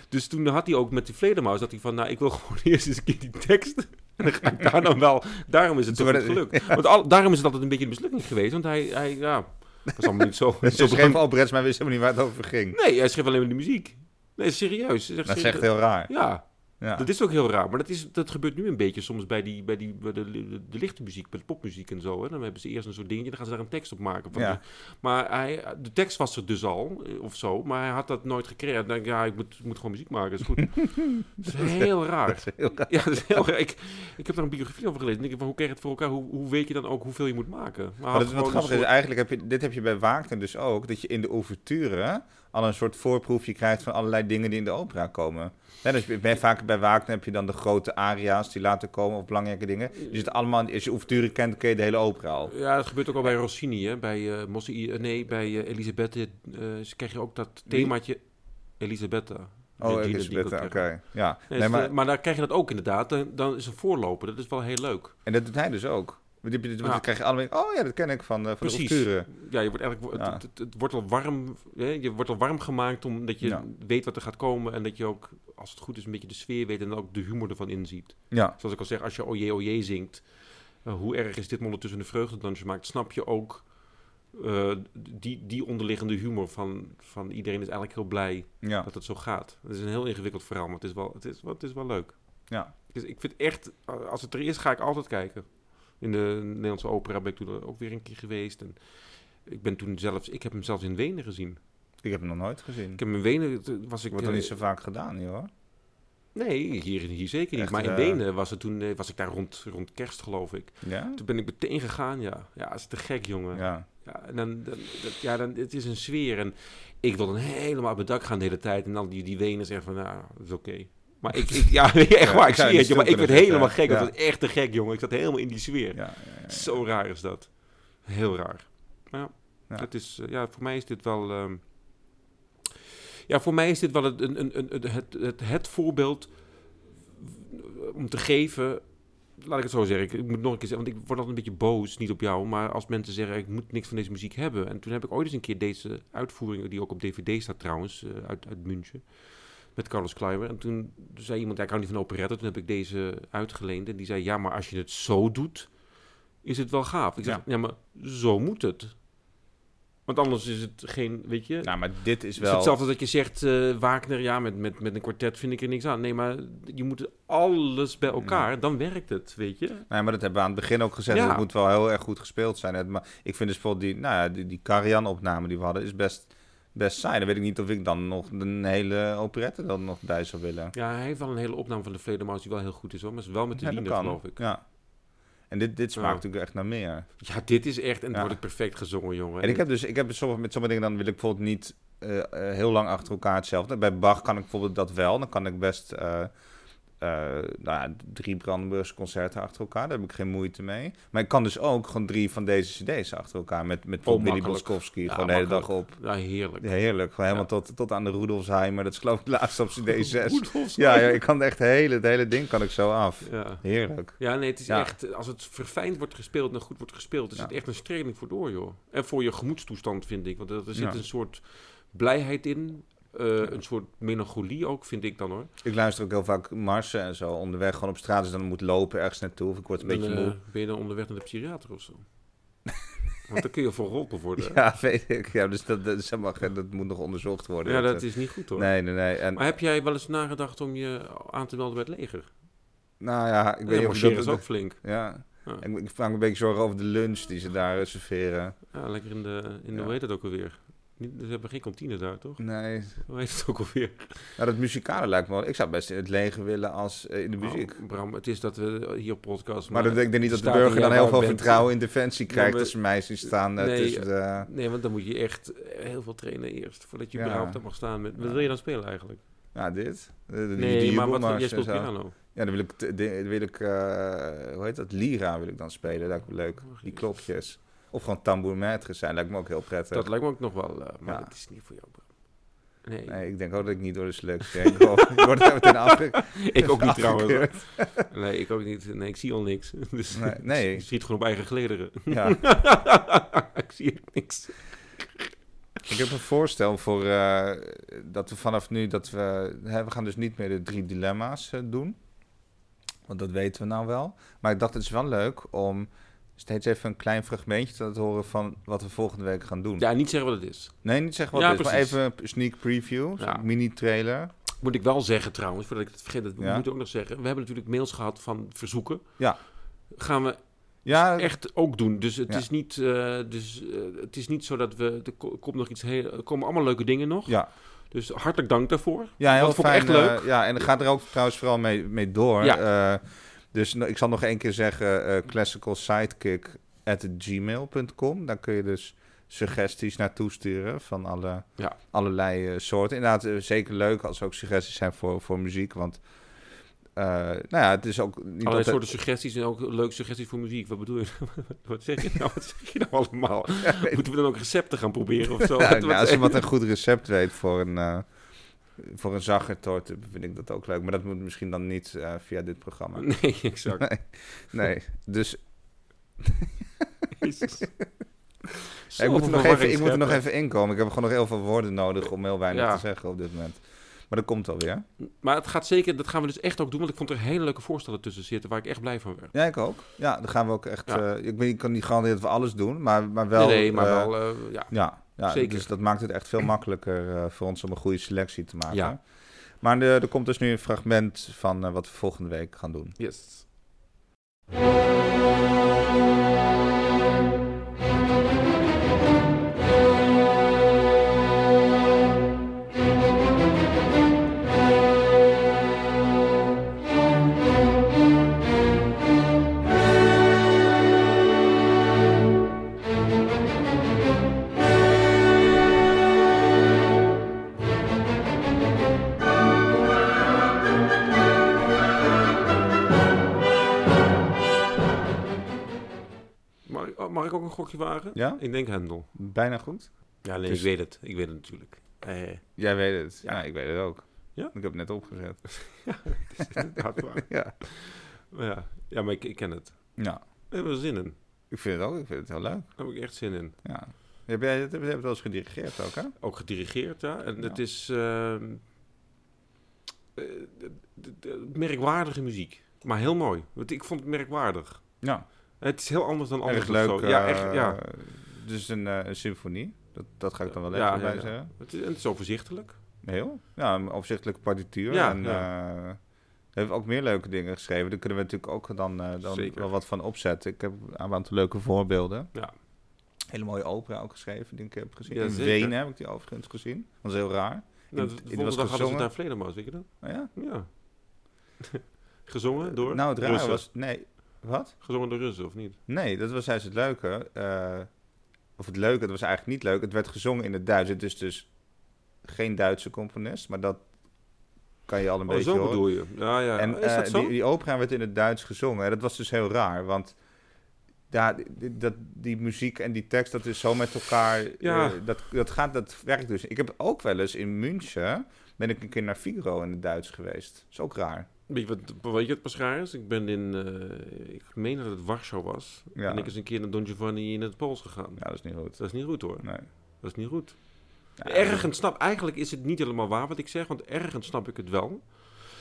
B: Dus toen had hij ook met die vleermuis dat hij van, nou, ik wil gewoon eerst eens een keer die tekst. En dan ga ik daar dan wel. Daarom is het zo
A: Toen
B: goed
A: werd-
B: gelukt. Want al, daarom is het altijd een beetje een mislukking geweest. Want hij, hij ja, dat is allemaal niet zo.
A: Ze
B: niet zo
A: schreef operettes, maar wist helemaal niet waar het over ging.
B: Nee, hij schreef alleen maar de muziek. Nee, serieus. Hij zegt
A: Dat is
B: serieus-
A: echt heel raar.
B: Ja,
A: Ja.
B: dat is ook heel raar. Maar dat, is, dat gebeurt nu een beetje soms bij, die, bij, die, bij de, de, de lichte muziek, bij de popmuziek en zo. Hè. Dan hebben ze eerst een soort dingetje, dan gaan ze daar een tekst op maken. Van
A: Ja.
B: de- maar hij, de tekst was er dus al, eh, of zo. Maar hij had dat nooit gecreëerd. Dan denk ik, ja, ik moet, ik moet gewoon muziek maken, is goed. dat is heel raar.
A: heel raar.
B: Ja, dat is heel raar. Ik, ik heb daar een biografie over gelezen. En ik denk, van, hoe krijg je het voor elkaar? Hoe, hoe weet je dan ook hoeveel je moet maken? Maar hij had
A: Maar dat,
B: gewoon
A: wat
B: een
A: grappig is,
B: soort-
A: eigenlijk heb je, dit heb je bij Wagner dus ook, dat je in de ouverture al een soort voorproefje krijgt van allerlei dingen die in de opera komen. Ja, dus bij, vaak bij Wagner heb je dan de grote aria's die later komen of belangrijke dingen. Die zitten allemaal, als je ouverture kent, ken je de hele opera al.
B: Ja, dat gebeurt ook al bij Rossini, hè? bij eh Mossi, eh, nee, bij eh, Elisabetta. eh, ze krijgen ook dat
A: Wie?
B: themaatje Elisabetta.
A: Oh,
B: Regina die
A: Elisabeth,
B: ik ook
A: oké.
B: krijg.
A: Ja, nee,
B: Nee, dus, eh,
A: maar,
B: maar... daar krijg je dat ook inderdaad. Dan, dan is een voorloper, dat is wel heel leuk.
A: en dat doet hij dus ook. Want die- want
B: Ja.
A: dan krijg je allemaal, oh ja, dat ken ik van, eh, van de
B: Precies.
A: ouverture.
B: Ja, je wordt eigenlijk,
A: Ja.
B: het, het, het wordt al warm, hè? je wordt al warm gemaakt omdat je
A: Ja.
B: weet wat er gaat komen. En dat je ook, als het goed is, een beetje de sfeer weet en ook de humor ervan inziet.
A: Ja,
B: Zoals ik al zeg, als je oje oje zingt, eh, hoe erg is dit me ondertussen een vreugdedansje maakt, snap je ook eh, die, die onderliggende humor van, van iedereen is eigenlijk heel blij
A: ja,
B: dat het zo gaat. Het is een heel ingewikkeld verhaal, maar het is wel, het is, wel- het is wel leuk.
A: ja.
B: Dus ik vind echt, eh, als het er is, ga ik altijd kijken. In de Nederlandse opera ben ik toen ook weer een keer geweest. En ik ben toen zelfs, ik heb hem zelfs in Wenen gezien.
A: Ik heb hem nog nooit gezien.
B: Ik heb hem in Wenen, toen was ik...
A: Wordt
B: eh,
A: nog niet zo vaak gedaan, hier, hoor.
B: Nee, hier, hier zeker niet.
A: Echt,
B: maar in
A: eh,
B: Wenen was, het toen, eh, was ik daar rond, rond kerst, geloof ik.
A: Ja?
B: Toen ben ik meteen gegaan, ja. Ja, dat is te gek, jongen. Ja.
A: Ja.
B: en dan, dan, dat- ja, dan, het is een sfeer. En ik wil dan helemaal op mijn dak gaan de hele tijd. En dan die, die wenen zeggen van, nou, dat is oké. Maar ik, ik- ja, echt
A: Ja,
B: waar,
A: ik
B: ik
A: zou
B: zie
A: niet
B: het,
A: stil
B: joh, maar ik werd
A: kunnen zitten,
B: helemaal
A: hè.
B: gek.
A: Ja.
B: Dat was echt te gek, jongen. Ik zat helemaal in die sfeer.
A: Ja, ja, ja.
B: Zo raar is dat. Heel raar. Maar ja,
A: Ja.
B: Dat is, eh, ja, voor mij is dit wel... ehm, ja, voor mij is dit wel het, een, een, een, het, het, het, voorbeeld om te geven... Laat ik het zo zeggen. Ik ik moet nog een keer zeggen, want ik word altijd een beetje boos, niet op jou, maar als mensen zeggen ik moet niks van deze muziek hebben. En toen heb ik ooit eens een keer deze uitvoering, die ook op DVD staat trouwens, eh, uit, uit München, met Carlos Kleiber. En toen zei iemand, ja, ik hou niet van operette. Toen heb ik deze uitgeleend en die zei, ja, maar als je het zo doet, is het wel gaaf. Ik zeg, ja,
A: Ja.
B: maar zo moet het. Want anders is het geen, weet je...
A: Nou, maar dit is
B: het
A: wel...
B: is hetzelfde dat je zegt, eh Wagner, ja, met, met, met een kwartet vind ik er niks aan. Nee, maar je moet alles bij elkaar, dan werkt het, weet je.
A: Nee, maar dat hebben we aan het begin ook gezegd.
B: Ja.
A: Het moet wel heel erg goed gespeeld zijn. Het- Maar ik vind dus bijvoorbeeld die, nou ja, die, die Karian-opname die we hadden, is best, best saai. Dan weet ik niet of ik dan nog een hele operette dan nog bij zou willen.
B: Ja, hij heeft wel een hele opname van de Vledermaus die wel heel goed is hoor. Maar is wel met de
A: Ja,
B: Wiener, geloof ik.
A: Ja. En dit, dit smaakt
B: Ja.
A: natuurlijk echt naar meer.
B: Ja, dit is echt... En het
A: Ja.
B: wordt ook perfect gezongen, jongen.
A: En ik heb dus, ik heb sommige, met sommige dingen dan wil ik bijvoorbeeld niet eh, eh, heel lang achter elkaar hetzelfde. Bij Bach kan ik bijvoorbeeld dat wel. Dan kan ik best eh, eh, nou ja, drie Brandenburgse concerten achter elkaar. Daar heb ik geen moeite mee. Maar ik kan dus ook gewoon drie van deze cd's achter elkaar. Met, met bijvoorbeeld Willy
B: makkelijk.
A: Boskowski.
B: Ja,
A: gewoon de hele dag
B: makkelijk.
A: op.
B: Ja, heerlijk.
A: Ja, heerlijk. Gewoon helemaal tot, tot aan de Rudolfsheimer. Dat is geloof ik laatst op CD6.
B: Rudolf
A: Ja, ja,
B: Steiner.
A: ik kan echt het hele, het hele ding kan ik zo af.
B: ja.
A: Heerlijk.
B: Ja, nee, het is
A: Ja.
B: echt... eh, Als het verfijnd wordt gespeeld en goed wordt gespeeld... is
A: Ja.
B: het echt een streling voor door, joh. En voor je gemoedstoestand, vind ik. Want er er zit
A: Ja.
B: een soort blijheid in... eh, Een soort melancholie ook, vind ik dan hoor.
A: Ik luister ook heel vaak marsen en zo onderweg. Gewoon op straat, dus dan moet lopen ergens naartoe. Of ik word een beetje
B: Dan, eh,
A: moe.
B: ben je dan onderweg naar de psychiater of zo? Want dan kun je voor geholpen worden. Ja,
A: Ja, weet ik. Ja, dus dat, dat, is helemaal geen- dat moet nog onderzocht worden.
B: dat is niet goed hoor.
A: Nee, nee, nee. En,
B: Maar heb jij wel eens nagedacht om je aan te melden bij het leger?
A: nou ja, ik weet
B: Ik ben
A: niet
B: ja,
A: of ik
B: marcheren
A: dat...
B: is ook flink.
A: Ja.
B: Ja.
A: Ik, ik maak me een beetje zorgen over de lunch die ze daar reserveren.
B: Ja, lekker in de, in de
A: Ja.
B: hoe heet dat ook alweer? Niet- Ze hebben geen kantine daar, toch?
A: Nee,
B: Hoe heet het ook alweer?
A: nou, dat muzikale lijkt me wel. Ik zou best in het leger willen als eh, in de muziek.
B: Oh, Bram, het is dat we hier op podcast...
A: Maar dan denk ik denk niet dat de
B: staat er
A: burger dan
B: jij
A: heel
B: waar
A: veel
B: bent.
A: vertrouwen in defensie
B: Ja,
A: krijgt
B: maar-
A: als ze mij zien staan eh,
B: Nee,
A: tussen de...
B: Nee, want dan moet je echt eh, heel veel trainen eerst. Voordat je
A: Ja.
B: überhaupt daar mag staan. Met, wat
A: Ja.
B: wil je dan spelen eigenlijk?
A: Ja, dit. De, de,
B: Nee,
A: die
B: maar wat,
A: jubelmars
B: jij
A: en
B: speelt
A: zo.
B: piano.
A: Ja, dan wil ik, t- de- wil ik eh, hoe heet dat? Lira wil ik dan spelen. Dat lijkt me leuk.
B: Oh,
A: Die klokjes. Of gewoon tambour maître zijn. Lijkt me ook heel prettig.
B: Dat lijkt me ook nog wel, eh, maar
A: Ja.
B: dat is niet voor jou, Bram. Nee,
A: Nee, ik denk ook dat ik niet door de selectie heen kom. Ik word daar meteen afge-
B: ik ook niet trouwens.
A: afgekeurd.
B: Nee, ik ook niet. Nee, ik zie al niks. Dus
A: Nee, nee.
B: Je schiet gewoon op eigen gelederen.
A: Ja.
B: ik zie echt niks.
A: Ik heb een voorstel voor eh, dat we vanaf nu dat we. Hè, we gaan dus niet meer de drie dilemma's eh, doen. Want dat weten we nou wel. Maar ik dacht, het is wel leuk om steeds even een klein fragmentje te laten horen van wat we volgende week gaan doen.
B: Ja, niet zeggen wat het is.
A: Nee, niet zeggen wat
B: Ja,
A: het is, maar
B: precies.
A: even een sneak preview,
B: Ja.
A: een mini-trailer.
B: Moet ik wel zeggen trouwens, voordat ik het vergeet, dat we
A: Ja.
B: moeten ook nog zeggen. We hebben natuurlijk mails gehad van verzoeken.
A: Ja.
B: Gaan we
A: Ja,
B: echt ook doen. Dus het,
A: Ja.
B: is, niet, eh, dus, eh, het is niet zo dat we... Er ko- komt nog iets heel, er komen allemaal leuke dingen nog.
A: ja.
B: Dus hartelijk dank daarvoor.
A: ja heel
B: Dat vond ik
A: fijn.
B: echt
A: eh,
B: leuk.
A: ja, en ga er ook trouwens vooral mee, mee door. Ja. dus nou, ik zal nog één keer zeggen: eh classical sidekick at gmail.com. Daar kun je dus suggesties naartoe sturen van alle,
B: Ja.
A: allerlei eh, soorten. Inderdaad, eh, zeker leuk als er ook suggesties zijn voor, voor muziek. Want eh, nou ja, het is ook niet
B: Allerlei
A: altijd-
B: soorten suggesties en ook leuke suggesties voor muziek. Wat bedoel je? wat zeg je nou? Wat zeg je nou allemaal?
A: Ja, weet-
B: Moeten we dan ook recepten gaan proberen of zo?
A: Ja,
B: Wat-
A: nou,
B: wat-
A: als iemand een goed recept weet voor een, eh voor een zaggertort, eh, vind ik dat ook leuk. Maar dat moet misschien dan niet eh, via dit programma.
B: Nee, exact.
A: Nee, dus
B: Jezus.
A: ik moet,
B: Zoveel
A: er nog even, ik moet er
B: verwarring
A: nog
B: scheppen.
A: even inkomen. Ik heb gewoon nog heel veel woorden nodig om heel weinig
B: Ja.
A: te zeggen op dit moment. Maar dat komt alweer.
B: Maar het gaat zeker, dat gaan we dus echt ook doen, want ik vond er hele leuke voorstellen tussen zitten waar ik echt blij van werd.
A: Ja, ik ook. Ja, dan gaan we ook echt...
B: Ja.
A: eh, ik, weet, ik kan niet garanderen dat we alles doen, maar, maar wel...
B: nee, nee, maar
A: eh,
B: wel, eh, ja.
A: Ja, ja
B: Zeker.
A: dus dat maakt het echt veel makkelijker eh, voor ons om een goede selectie te maken.
B: Ja.
A: Maar eh, er komt dus nu een fragment van eh, wat we volgende week gaan doen.
B: Yes. Mag, ik- oh, mag ik ook een gokje wagen?
A: Ja?
B: Ik denk Hendel.
A: Bijna goed?
B: Ja, nee,
A: Dus-
B: ik weet het. Ik weet het natuurlijk. Eh,
A: Jij weet het. Ja,
B: Ja.
A: ik weet het ook.
B: Ja?
A: Ik heb het net opgezet.
B: het is inderdaad waar.
A: ja.
B: Maar ja, ja, maar ik, ik ken het.
A: ja,
B: Daar hebben we zin in.
A: ik vind het ook. Ik vind het heel leuk.
B: Daar heb ik echt zin in.
A: Ja. Heb jij dat heb je hebt wel eens gedirigeerd ook, hè?
B: Ook gedirigeerd, ja. En het
A: Ja.
B: is ehm, eh, d- d- d- merkwaardige muziek. Maar heel mooi. Want ik vond het merkwaardig.
A: Ja.
B: Het is heel anders dan anders
A: Erg
B: of
A: leuk.
B: zo. Ja,
A: eh,
B: echt, ja.
A: Dus een, eh, een symfonie. Dat, dat ga ik dan wel even
B: Ja,
A: bij
B: ja, ja.
A: zeggen.
B: Het is, en het is overzichtelijk.
A: Heel. Ja, een opzichtelijke partituur.
B: Ja,
A: en, eh, we hebben ook meer leuke dingen geschreven. Daar kunnen we natuurlijk ook dan, eh, dan
B: Zeker.
A: wel wat van opzetten. Ik heb een aantal leuke voorbeelden.
B: Ja.
A: Hele mooie opera ook geschreven, die ik heb gezien.
B: Ja,
A: In
B: zeker.
A: Wenen heb ik die overigens gezien. Dat is heel raar.
B: Nou,
A: het was
B: de volgende dag hadden ze
A: gezongen.
B: het aan Vleermuis, weet je dat?
A: Maar ja,
B: Ja. gezongen door
A: Nou, het rare
B: Russen.
A: was... Nee, wat?
B: Gezongen door Russen, of niet?
A: Nee, dat was juist het leuke. eh, of het leuke, dat was eigenlijk niet leuk. Het werd gezongen in het Duits. Het is dus geen Duitse componist, maar dat kan je al een
B: oh,
A: beetje
B: zo
A: horen.
B: bedoel je. Ja, ja.
A: En
B: is dat
A: eh,
B: zo?
A: Die, die opera werd in het Duits gezongen. En dat was dus heel raar, want... Ja, die- die- dat, die muziek en die tekst, dat is zo met elkaar.
B: Ja.
A: eh, dat, dat, gaat, dat werkt dus. Ik heb ook wel eens in München. ben ik een keer naar Figaro in het Duits geweest. Dat is ook raar.
B: Weet je wat, weet je wat pas raar is? Ik ben in, eh, ik meen dat het Warschau was.
A: Ja.
B: En ik is een keer naar Don Giovanni in het Pools gegaan.
A: Ja, Nou, dat is niet goed.
B: Dat is niet goed hoor.
A: Nee.
B: Dat is niet goed.
A: Ja,
B: Ergens snap, eigenlijk is het niet helemaal waar wat ik zeg, want ergens snap ik het wel.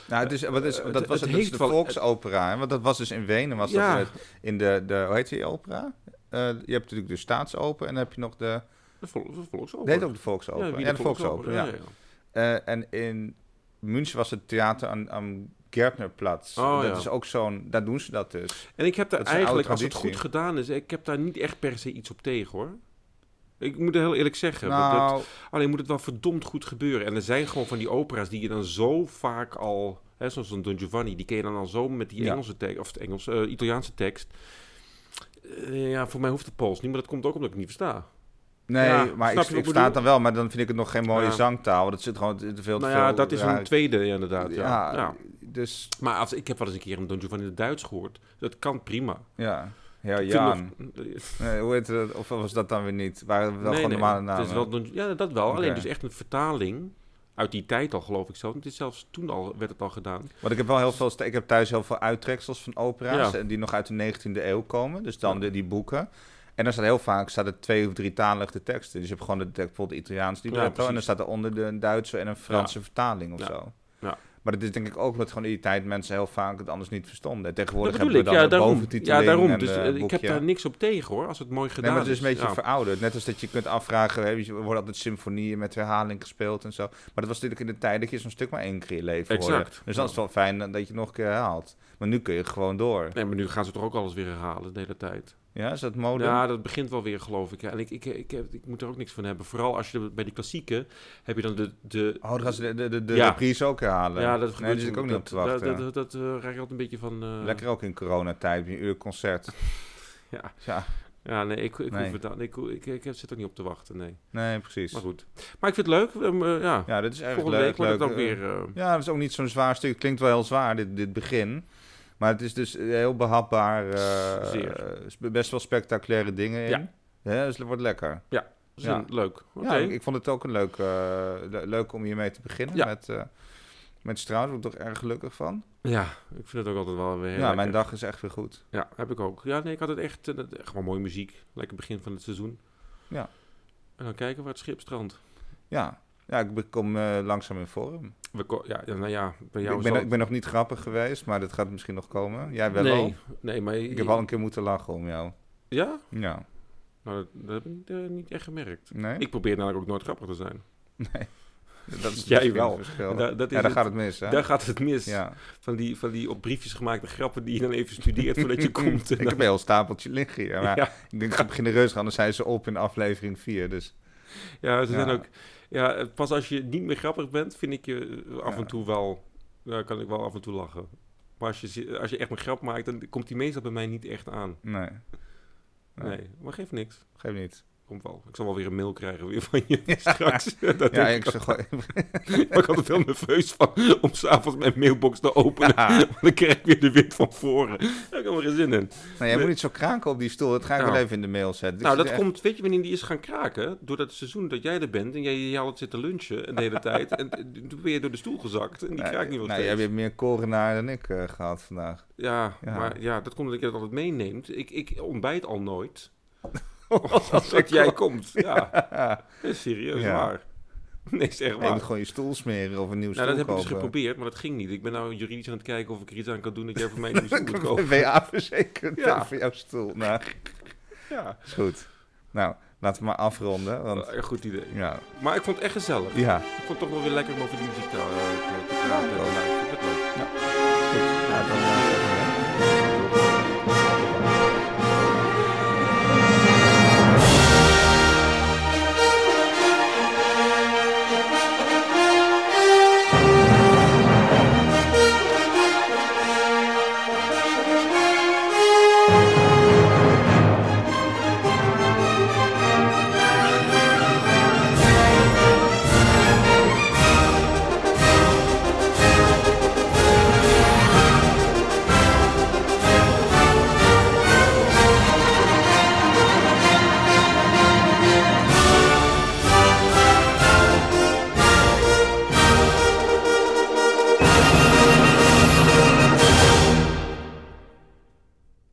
A: Nou, het is, wat is,
B: Eh,
A: dat
B: het-
A: was
B: het
A: het, dus
B: heeft
A: de
B: wel-
A: volksopera. hè? Want dat was dus in Wenen. Was
B: Ja.
A: dat in het- in de, de, hoe heet die opera? Eh, je hebt natuurlijk de staatsoper en dan heb je nog de...
B: Dat vol, dat volksoper.
A: Nee, ook de volksoper.
B: Ja,
A: Ja,
B: wie
A: de volksoper, ja. Eh, en in München was het theater aan, aan Gärtnerplatz.
B: Oh,
A: dat
B: ja.
A: is ook zo'n... Daar doen ze dat dus.
B: En ik heb daar
A: Dat is een oude
B: eigenlijk, als het goed
A: traditie.
B: gedaan is, ik heb daar niet echt per se iets op tegen hoor. Ik moet heel eerlijk zeggen. want dat-
A: nou,
B: alleen moet het wel verdomd goed gebeuren. En er zijn gewoon van die opera's die je dan zo vaak al... Hè, zoals een Don Giovanni, die ken je dan al zo met die
A: Ja.
B: Engelse tekst... of de Engels, eh, Italiaanse tekst. Eh, ja, voor mij hoeft het Pools niet, maar dat komt ook omdat ik het niet versta.
A: nee,
B: ja,
A: maar
B: snap je
A: ik,
B: wat ik
A: ik,
B: bedoel?
A: sta het dan wel, maar dan vind ik het nog geen mooie
B: Ja.
A: zangtaal. want Dat zit gewoon te te veel te
B: nou ja,
A: veel
B: dat is
A: rare-
B: een tweede ja, inderdaad. Ja.
A: Ja,
B: Ja.
A: dus
B: Maar als, ik heb wel eens een keer een Don Giovanni in het Duits gehoord. Dat kan prima.
A: ja. Ja,
B: Ik vind
A: Jaan.
B: nog-
A: Nee, hoe heet dat? Of was dat dan weer niet? Waren we wel
B: Nee,
A: gewoon
B: nee,
A: normale
B: het
A: namen?
B: is wel Don- ja, dat wel. Alleen
A: Oké.
B: dus echt een vertaling uit die tijd al, geloof ik zelf. Het is zelfs toen al, werd het al gedaan.
A: Want ik heb wel heel veel, st- ik heb thuis heel veel uittreksels van opera's
B: Ja.
A: en die nog uit de 19e eeuw komen. Dus dan
B: Ja.
A: de- die boeken. En dan staat heel vaak staat er twee of drie talen de teksten. Dus je hebt gewoon de, de- bijvoorbeeld de Italiaans libretto en dan
B: precies.
A: staat eronder de, een Duitse en een Franse vertaling of
B: Ja.
A: zo.
B: Ja.
A: Maar dat is denk ik ook omdat gewoon in die tijd mensen heel vaak het anders niet verstonden. En Tegenwoordig
B: dat bedoel
A: hebben
B: ik,
A: we dan
B: ja,
A: de
B: daarom.
A: boventiteling
B: Ja, daarom.
A: en
B: Dus
A: de
B: eh, ik heb
A: boekje.
B: daar niks op tegen hoor, als het mooi
A: Nee,
B: gedaan
A: maar het is een beetje
B: Ja.
A: verouderd. Net als dat je kunt afvragen, hè, er worden altijd symfonieën met herhaling gespeeld en zo. Maar dat was natuurlijk in de tijd dat je zo'n stuk maar één keer in je leven
B: Exact.
A: hoorde. Dus
B: Ja.
A: dat is wel fijn dat je het nog een keer herhaalt. Maar nu kun je gewoon door.
B: Nee, maar nu gaan ze toch ook alles weer herhalen de hele tijd.
A: Ja, is dat mode?
B: Ja, dat begint wel weer, geloof ik. Ja. En ik, ik, ik, heb- ik moet er ook niks van hebben. Vooral als je de- bij die klassieken heb je dan de. de
A: Oh, dan gaan ze de, de, de, de
B: Ja.
A: reprise ook herhalen.
B: ja, dat
A: nee,
B: gebeurt
A: daar zit ik ook niet op te
B: dat-
A: wachten.
B: Dat, dat, dat, eh, raak ik altijd een beetje van. eh,
A: Lekker ook in coronatijd, een uur concert.
B: Ja.
A: Ja,
B: Ja, nee, ik, ik,
A: Nee.
B: hoef het dan- ik, ik, ik, ik zit er niet op te wachten. Nee.
A: nee, precies.
B: Maar goed. Maar ik vind het leuk. ehm, eh, ja.
A: Ja, dat is erg
B: Volgende
A: leuk.
B: week wordt het
A: leuk.
B: ook weer. eh,
A: Ja, dat is ook niet zo'n zwaar stuk. Het klinkt wel heel zwaar, dit, dit begin. Maar het is dus heel behapbaar. eh,
B: Zeer.
A: eh, sp- best wel spectaculaire dingen in.
B: Ja.
A: Ja, dus het wordt lekker.
B: zin-
A: ja.
B: Leuk. Oké.
A: Ja, ik, ik vond het ook een leuk, eh, le- leuk om hiermee te beginnen.
B: Ja.
A: Met, eh met Strauss, daar ben ik toch erg gelukkig van.
B: Ja, ik vind het ook altijd wel weer
A: Ja,
B: heel lekker.
A: mijn dag is echt weer goed.
B: Ja, heb ik ook. Ja, nee, ik had het echt... eh, dat- Gewoon mooie muziek. Lekker begin van het seizoen.
A: Ja.
B: En dan kijken waar het schip strandt.
A: Ja, ja ik kom eh, langzaam in vorm.
B: We ko- ja, ja, nou ja, bij jou
A: Ik
B: is
A: ben,
B: al-
A: ik ben nog niet grappig geweest, maar dat gaat misschien nog komen. Jij wel
B: nee,
A: al?
B: Nee, maar...
A: Ik heb al een keer moeten lachen om jou.
B: Ja?
A: Ja,
B: Nou, dat, dat heb ik eh, niet echt gemerkt.
A: nee?
B: Ik probeer namelijk ook nooit grappig te zijn.
A: Dat is
B: Jij
A: misschien
B: wel.
A: het verschil.
B: Da- dat is
A: ja, daar
B: het.
A: gaat het mis, hè?
B: Daar gaat het mis.
A: Ja.
B: Van, die, van die op briefjes gemaakte grappen die je dan even studeert voordat je komt. en
A: ik
B: dan-
A: heb een heel stapeltje liggen hier. Maar
B: Ja.
A: ik denk, ik ga beginnen reus gaan. Dan zijn ze op in aflevering 4. Dus
B: Ja, ze
A: Ja.
B: zijn ook. Ja, pas als je niet meer grappig bent, vind ik je eh, af
A: Ja.
B: en toe wel. Ja, kan ik wel af en toe lachen. Maar als je, zi- als je echt een grap maakt, dan komt die meestal bij mij niet echt aan.
A: nee. Nee,
B: Nee, maar geeft niks.
A: Geef niet.
B: Komt wel. Ik zal wel weer een mail krijgen weer van je straks. Dat
A: Ja,
B: denk
A: ik
B: ik,
A: zeg gewoon...
B: ik ben altijd heel nerveus van om s'avonds mijn mailbox te openen.
A: Ah,
B: Want dan krijg ik weer de wind van voren. Daar kan ik geen zin in.
A: Nee, jij moet niet zo kraken op die stoel. Dat ga ik
B: Nou.
A: wel even in de mail zetten. Dus Ik
B: nou,
A: zit
B: dat
A: echt-
B: komt, weet je wanneer die is gaan kraken? Door dat seizoen dat jij er bent en jij, jij had zitten lunchen de hele tijd. En eh, toen ben je door de stoel gezakt en die
A: Nee,
B: kraakt niet meer
A: nou, jij hebt meer korenaar dan ik eh, gehad vandaag.
B: Ja,
A: Ja.
B: maar ja, dat komt omdat je dat altijd meeneemt. Ik, ik ontbijt al nooit.
A: Als
B: Als
A: ik
B: jij
A: kom.
B: komt. Ja, Dat is serieus
A: Ja.
B: waar. Nee, is echt
A: Nee, je
B: waar.
A: moet gewoon je stoel smeren of een nieuw
B: nou,
A: stoel
B: dat heb ik dus
A: kopen.
B: geprobeerd, maar dat ging niet. Ik ben nou juridisch aan het kijken of ik er iets aan kan doen dat jij voor mij een nieuwe stoel moet kopen.
A: Ben je afverzekerd
B: Ja.
A: ja. voor jouw stoel? Nou,
B: Ja,
A: is goed. Nou, laten we maar afronden. Want,
B: een goed idee.
A: ja.
B: Maar ik vond het echt gezellig.
A: ja.
B: Ik vond het toch wel weer lekker om over die muziek te, eh, te- te praten.
A: Ja,
B: Nou, ik vind het leuk.
A: Ja, dan, eh,
B: Ja.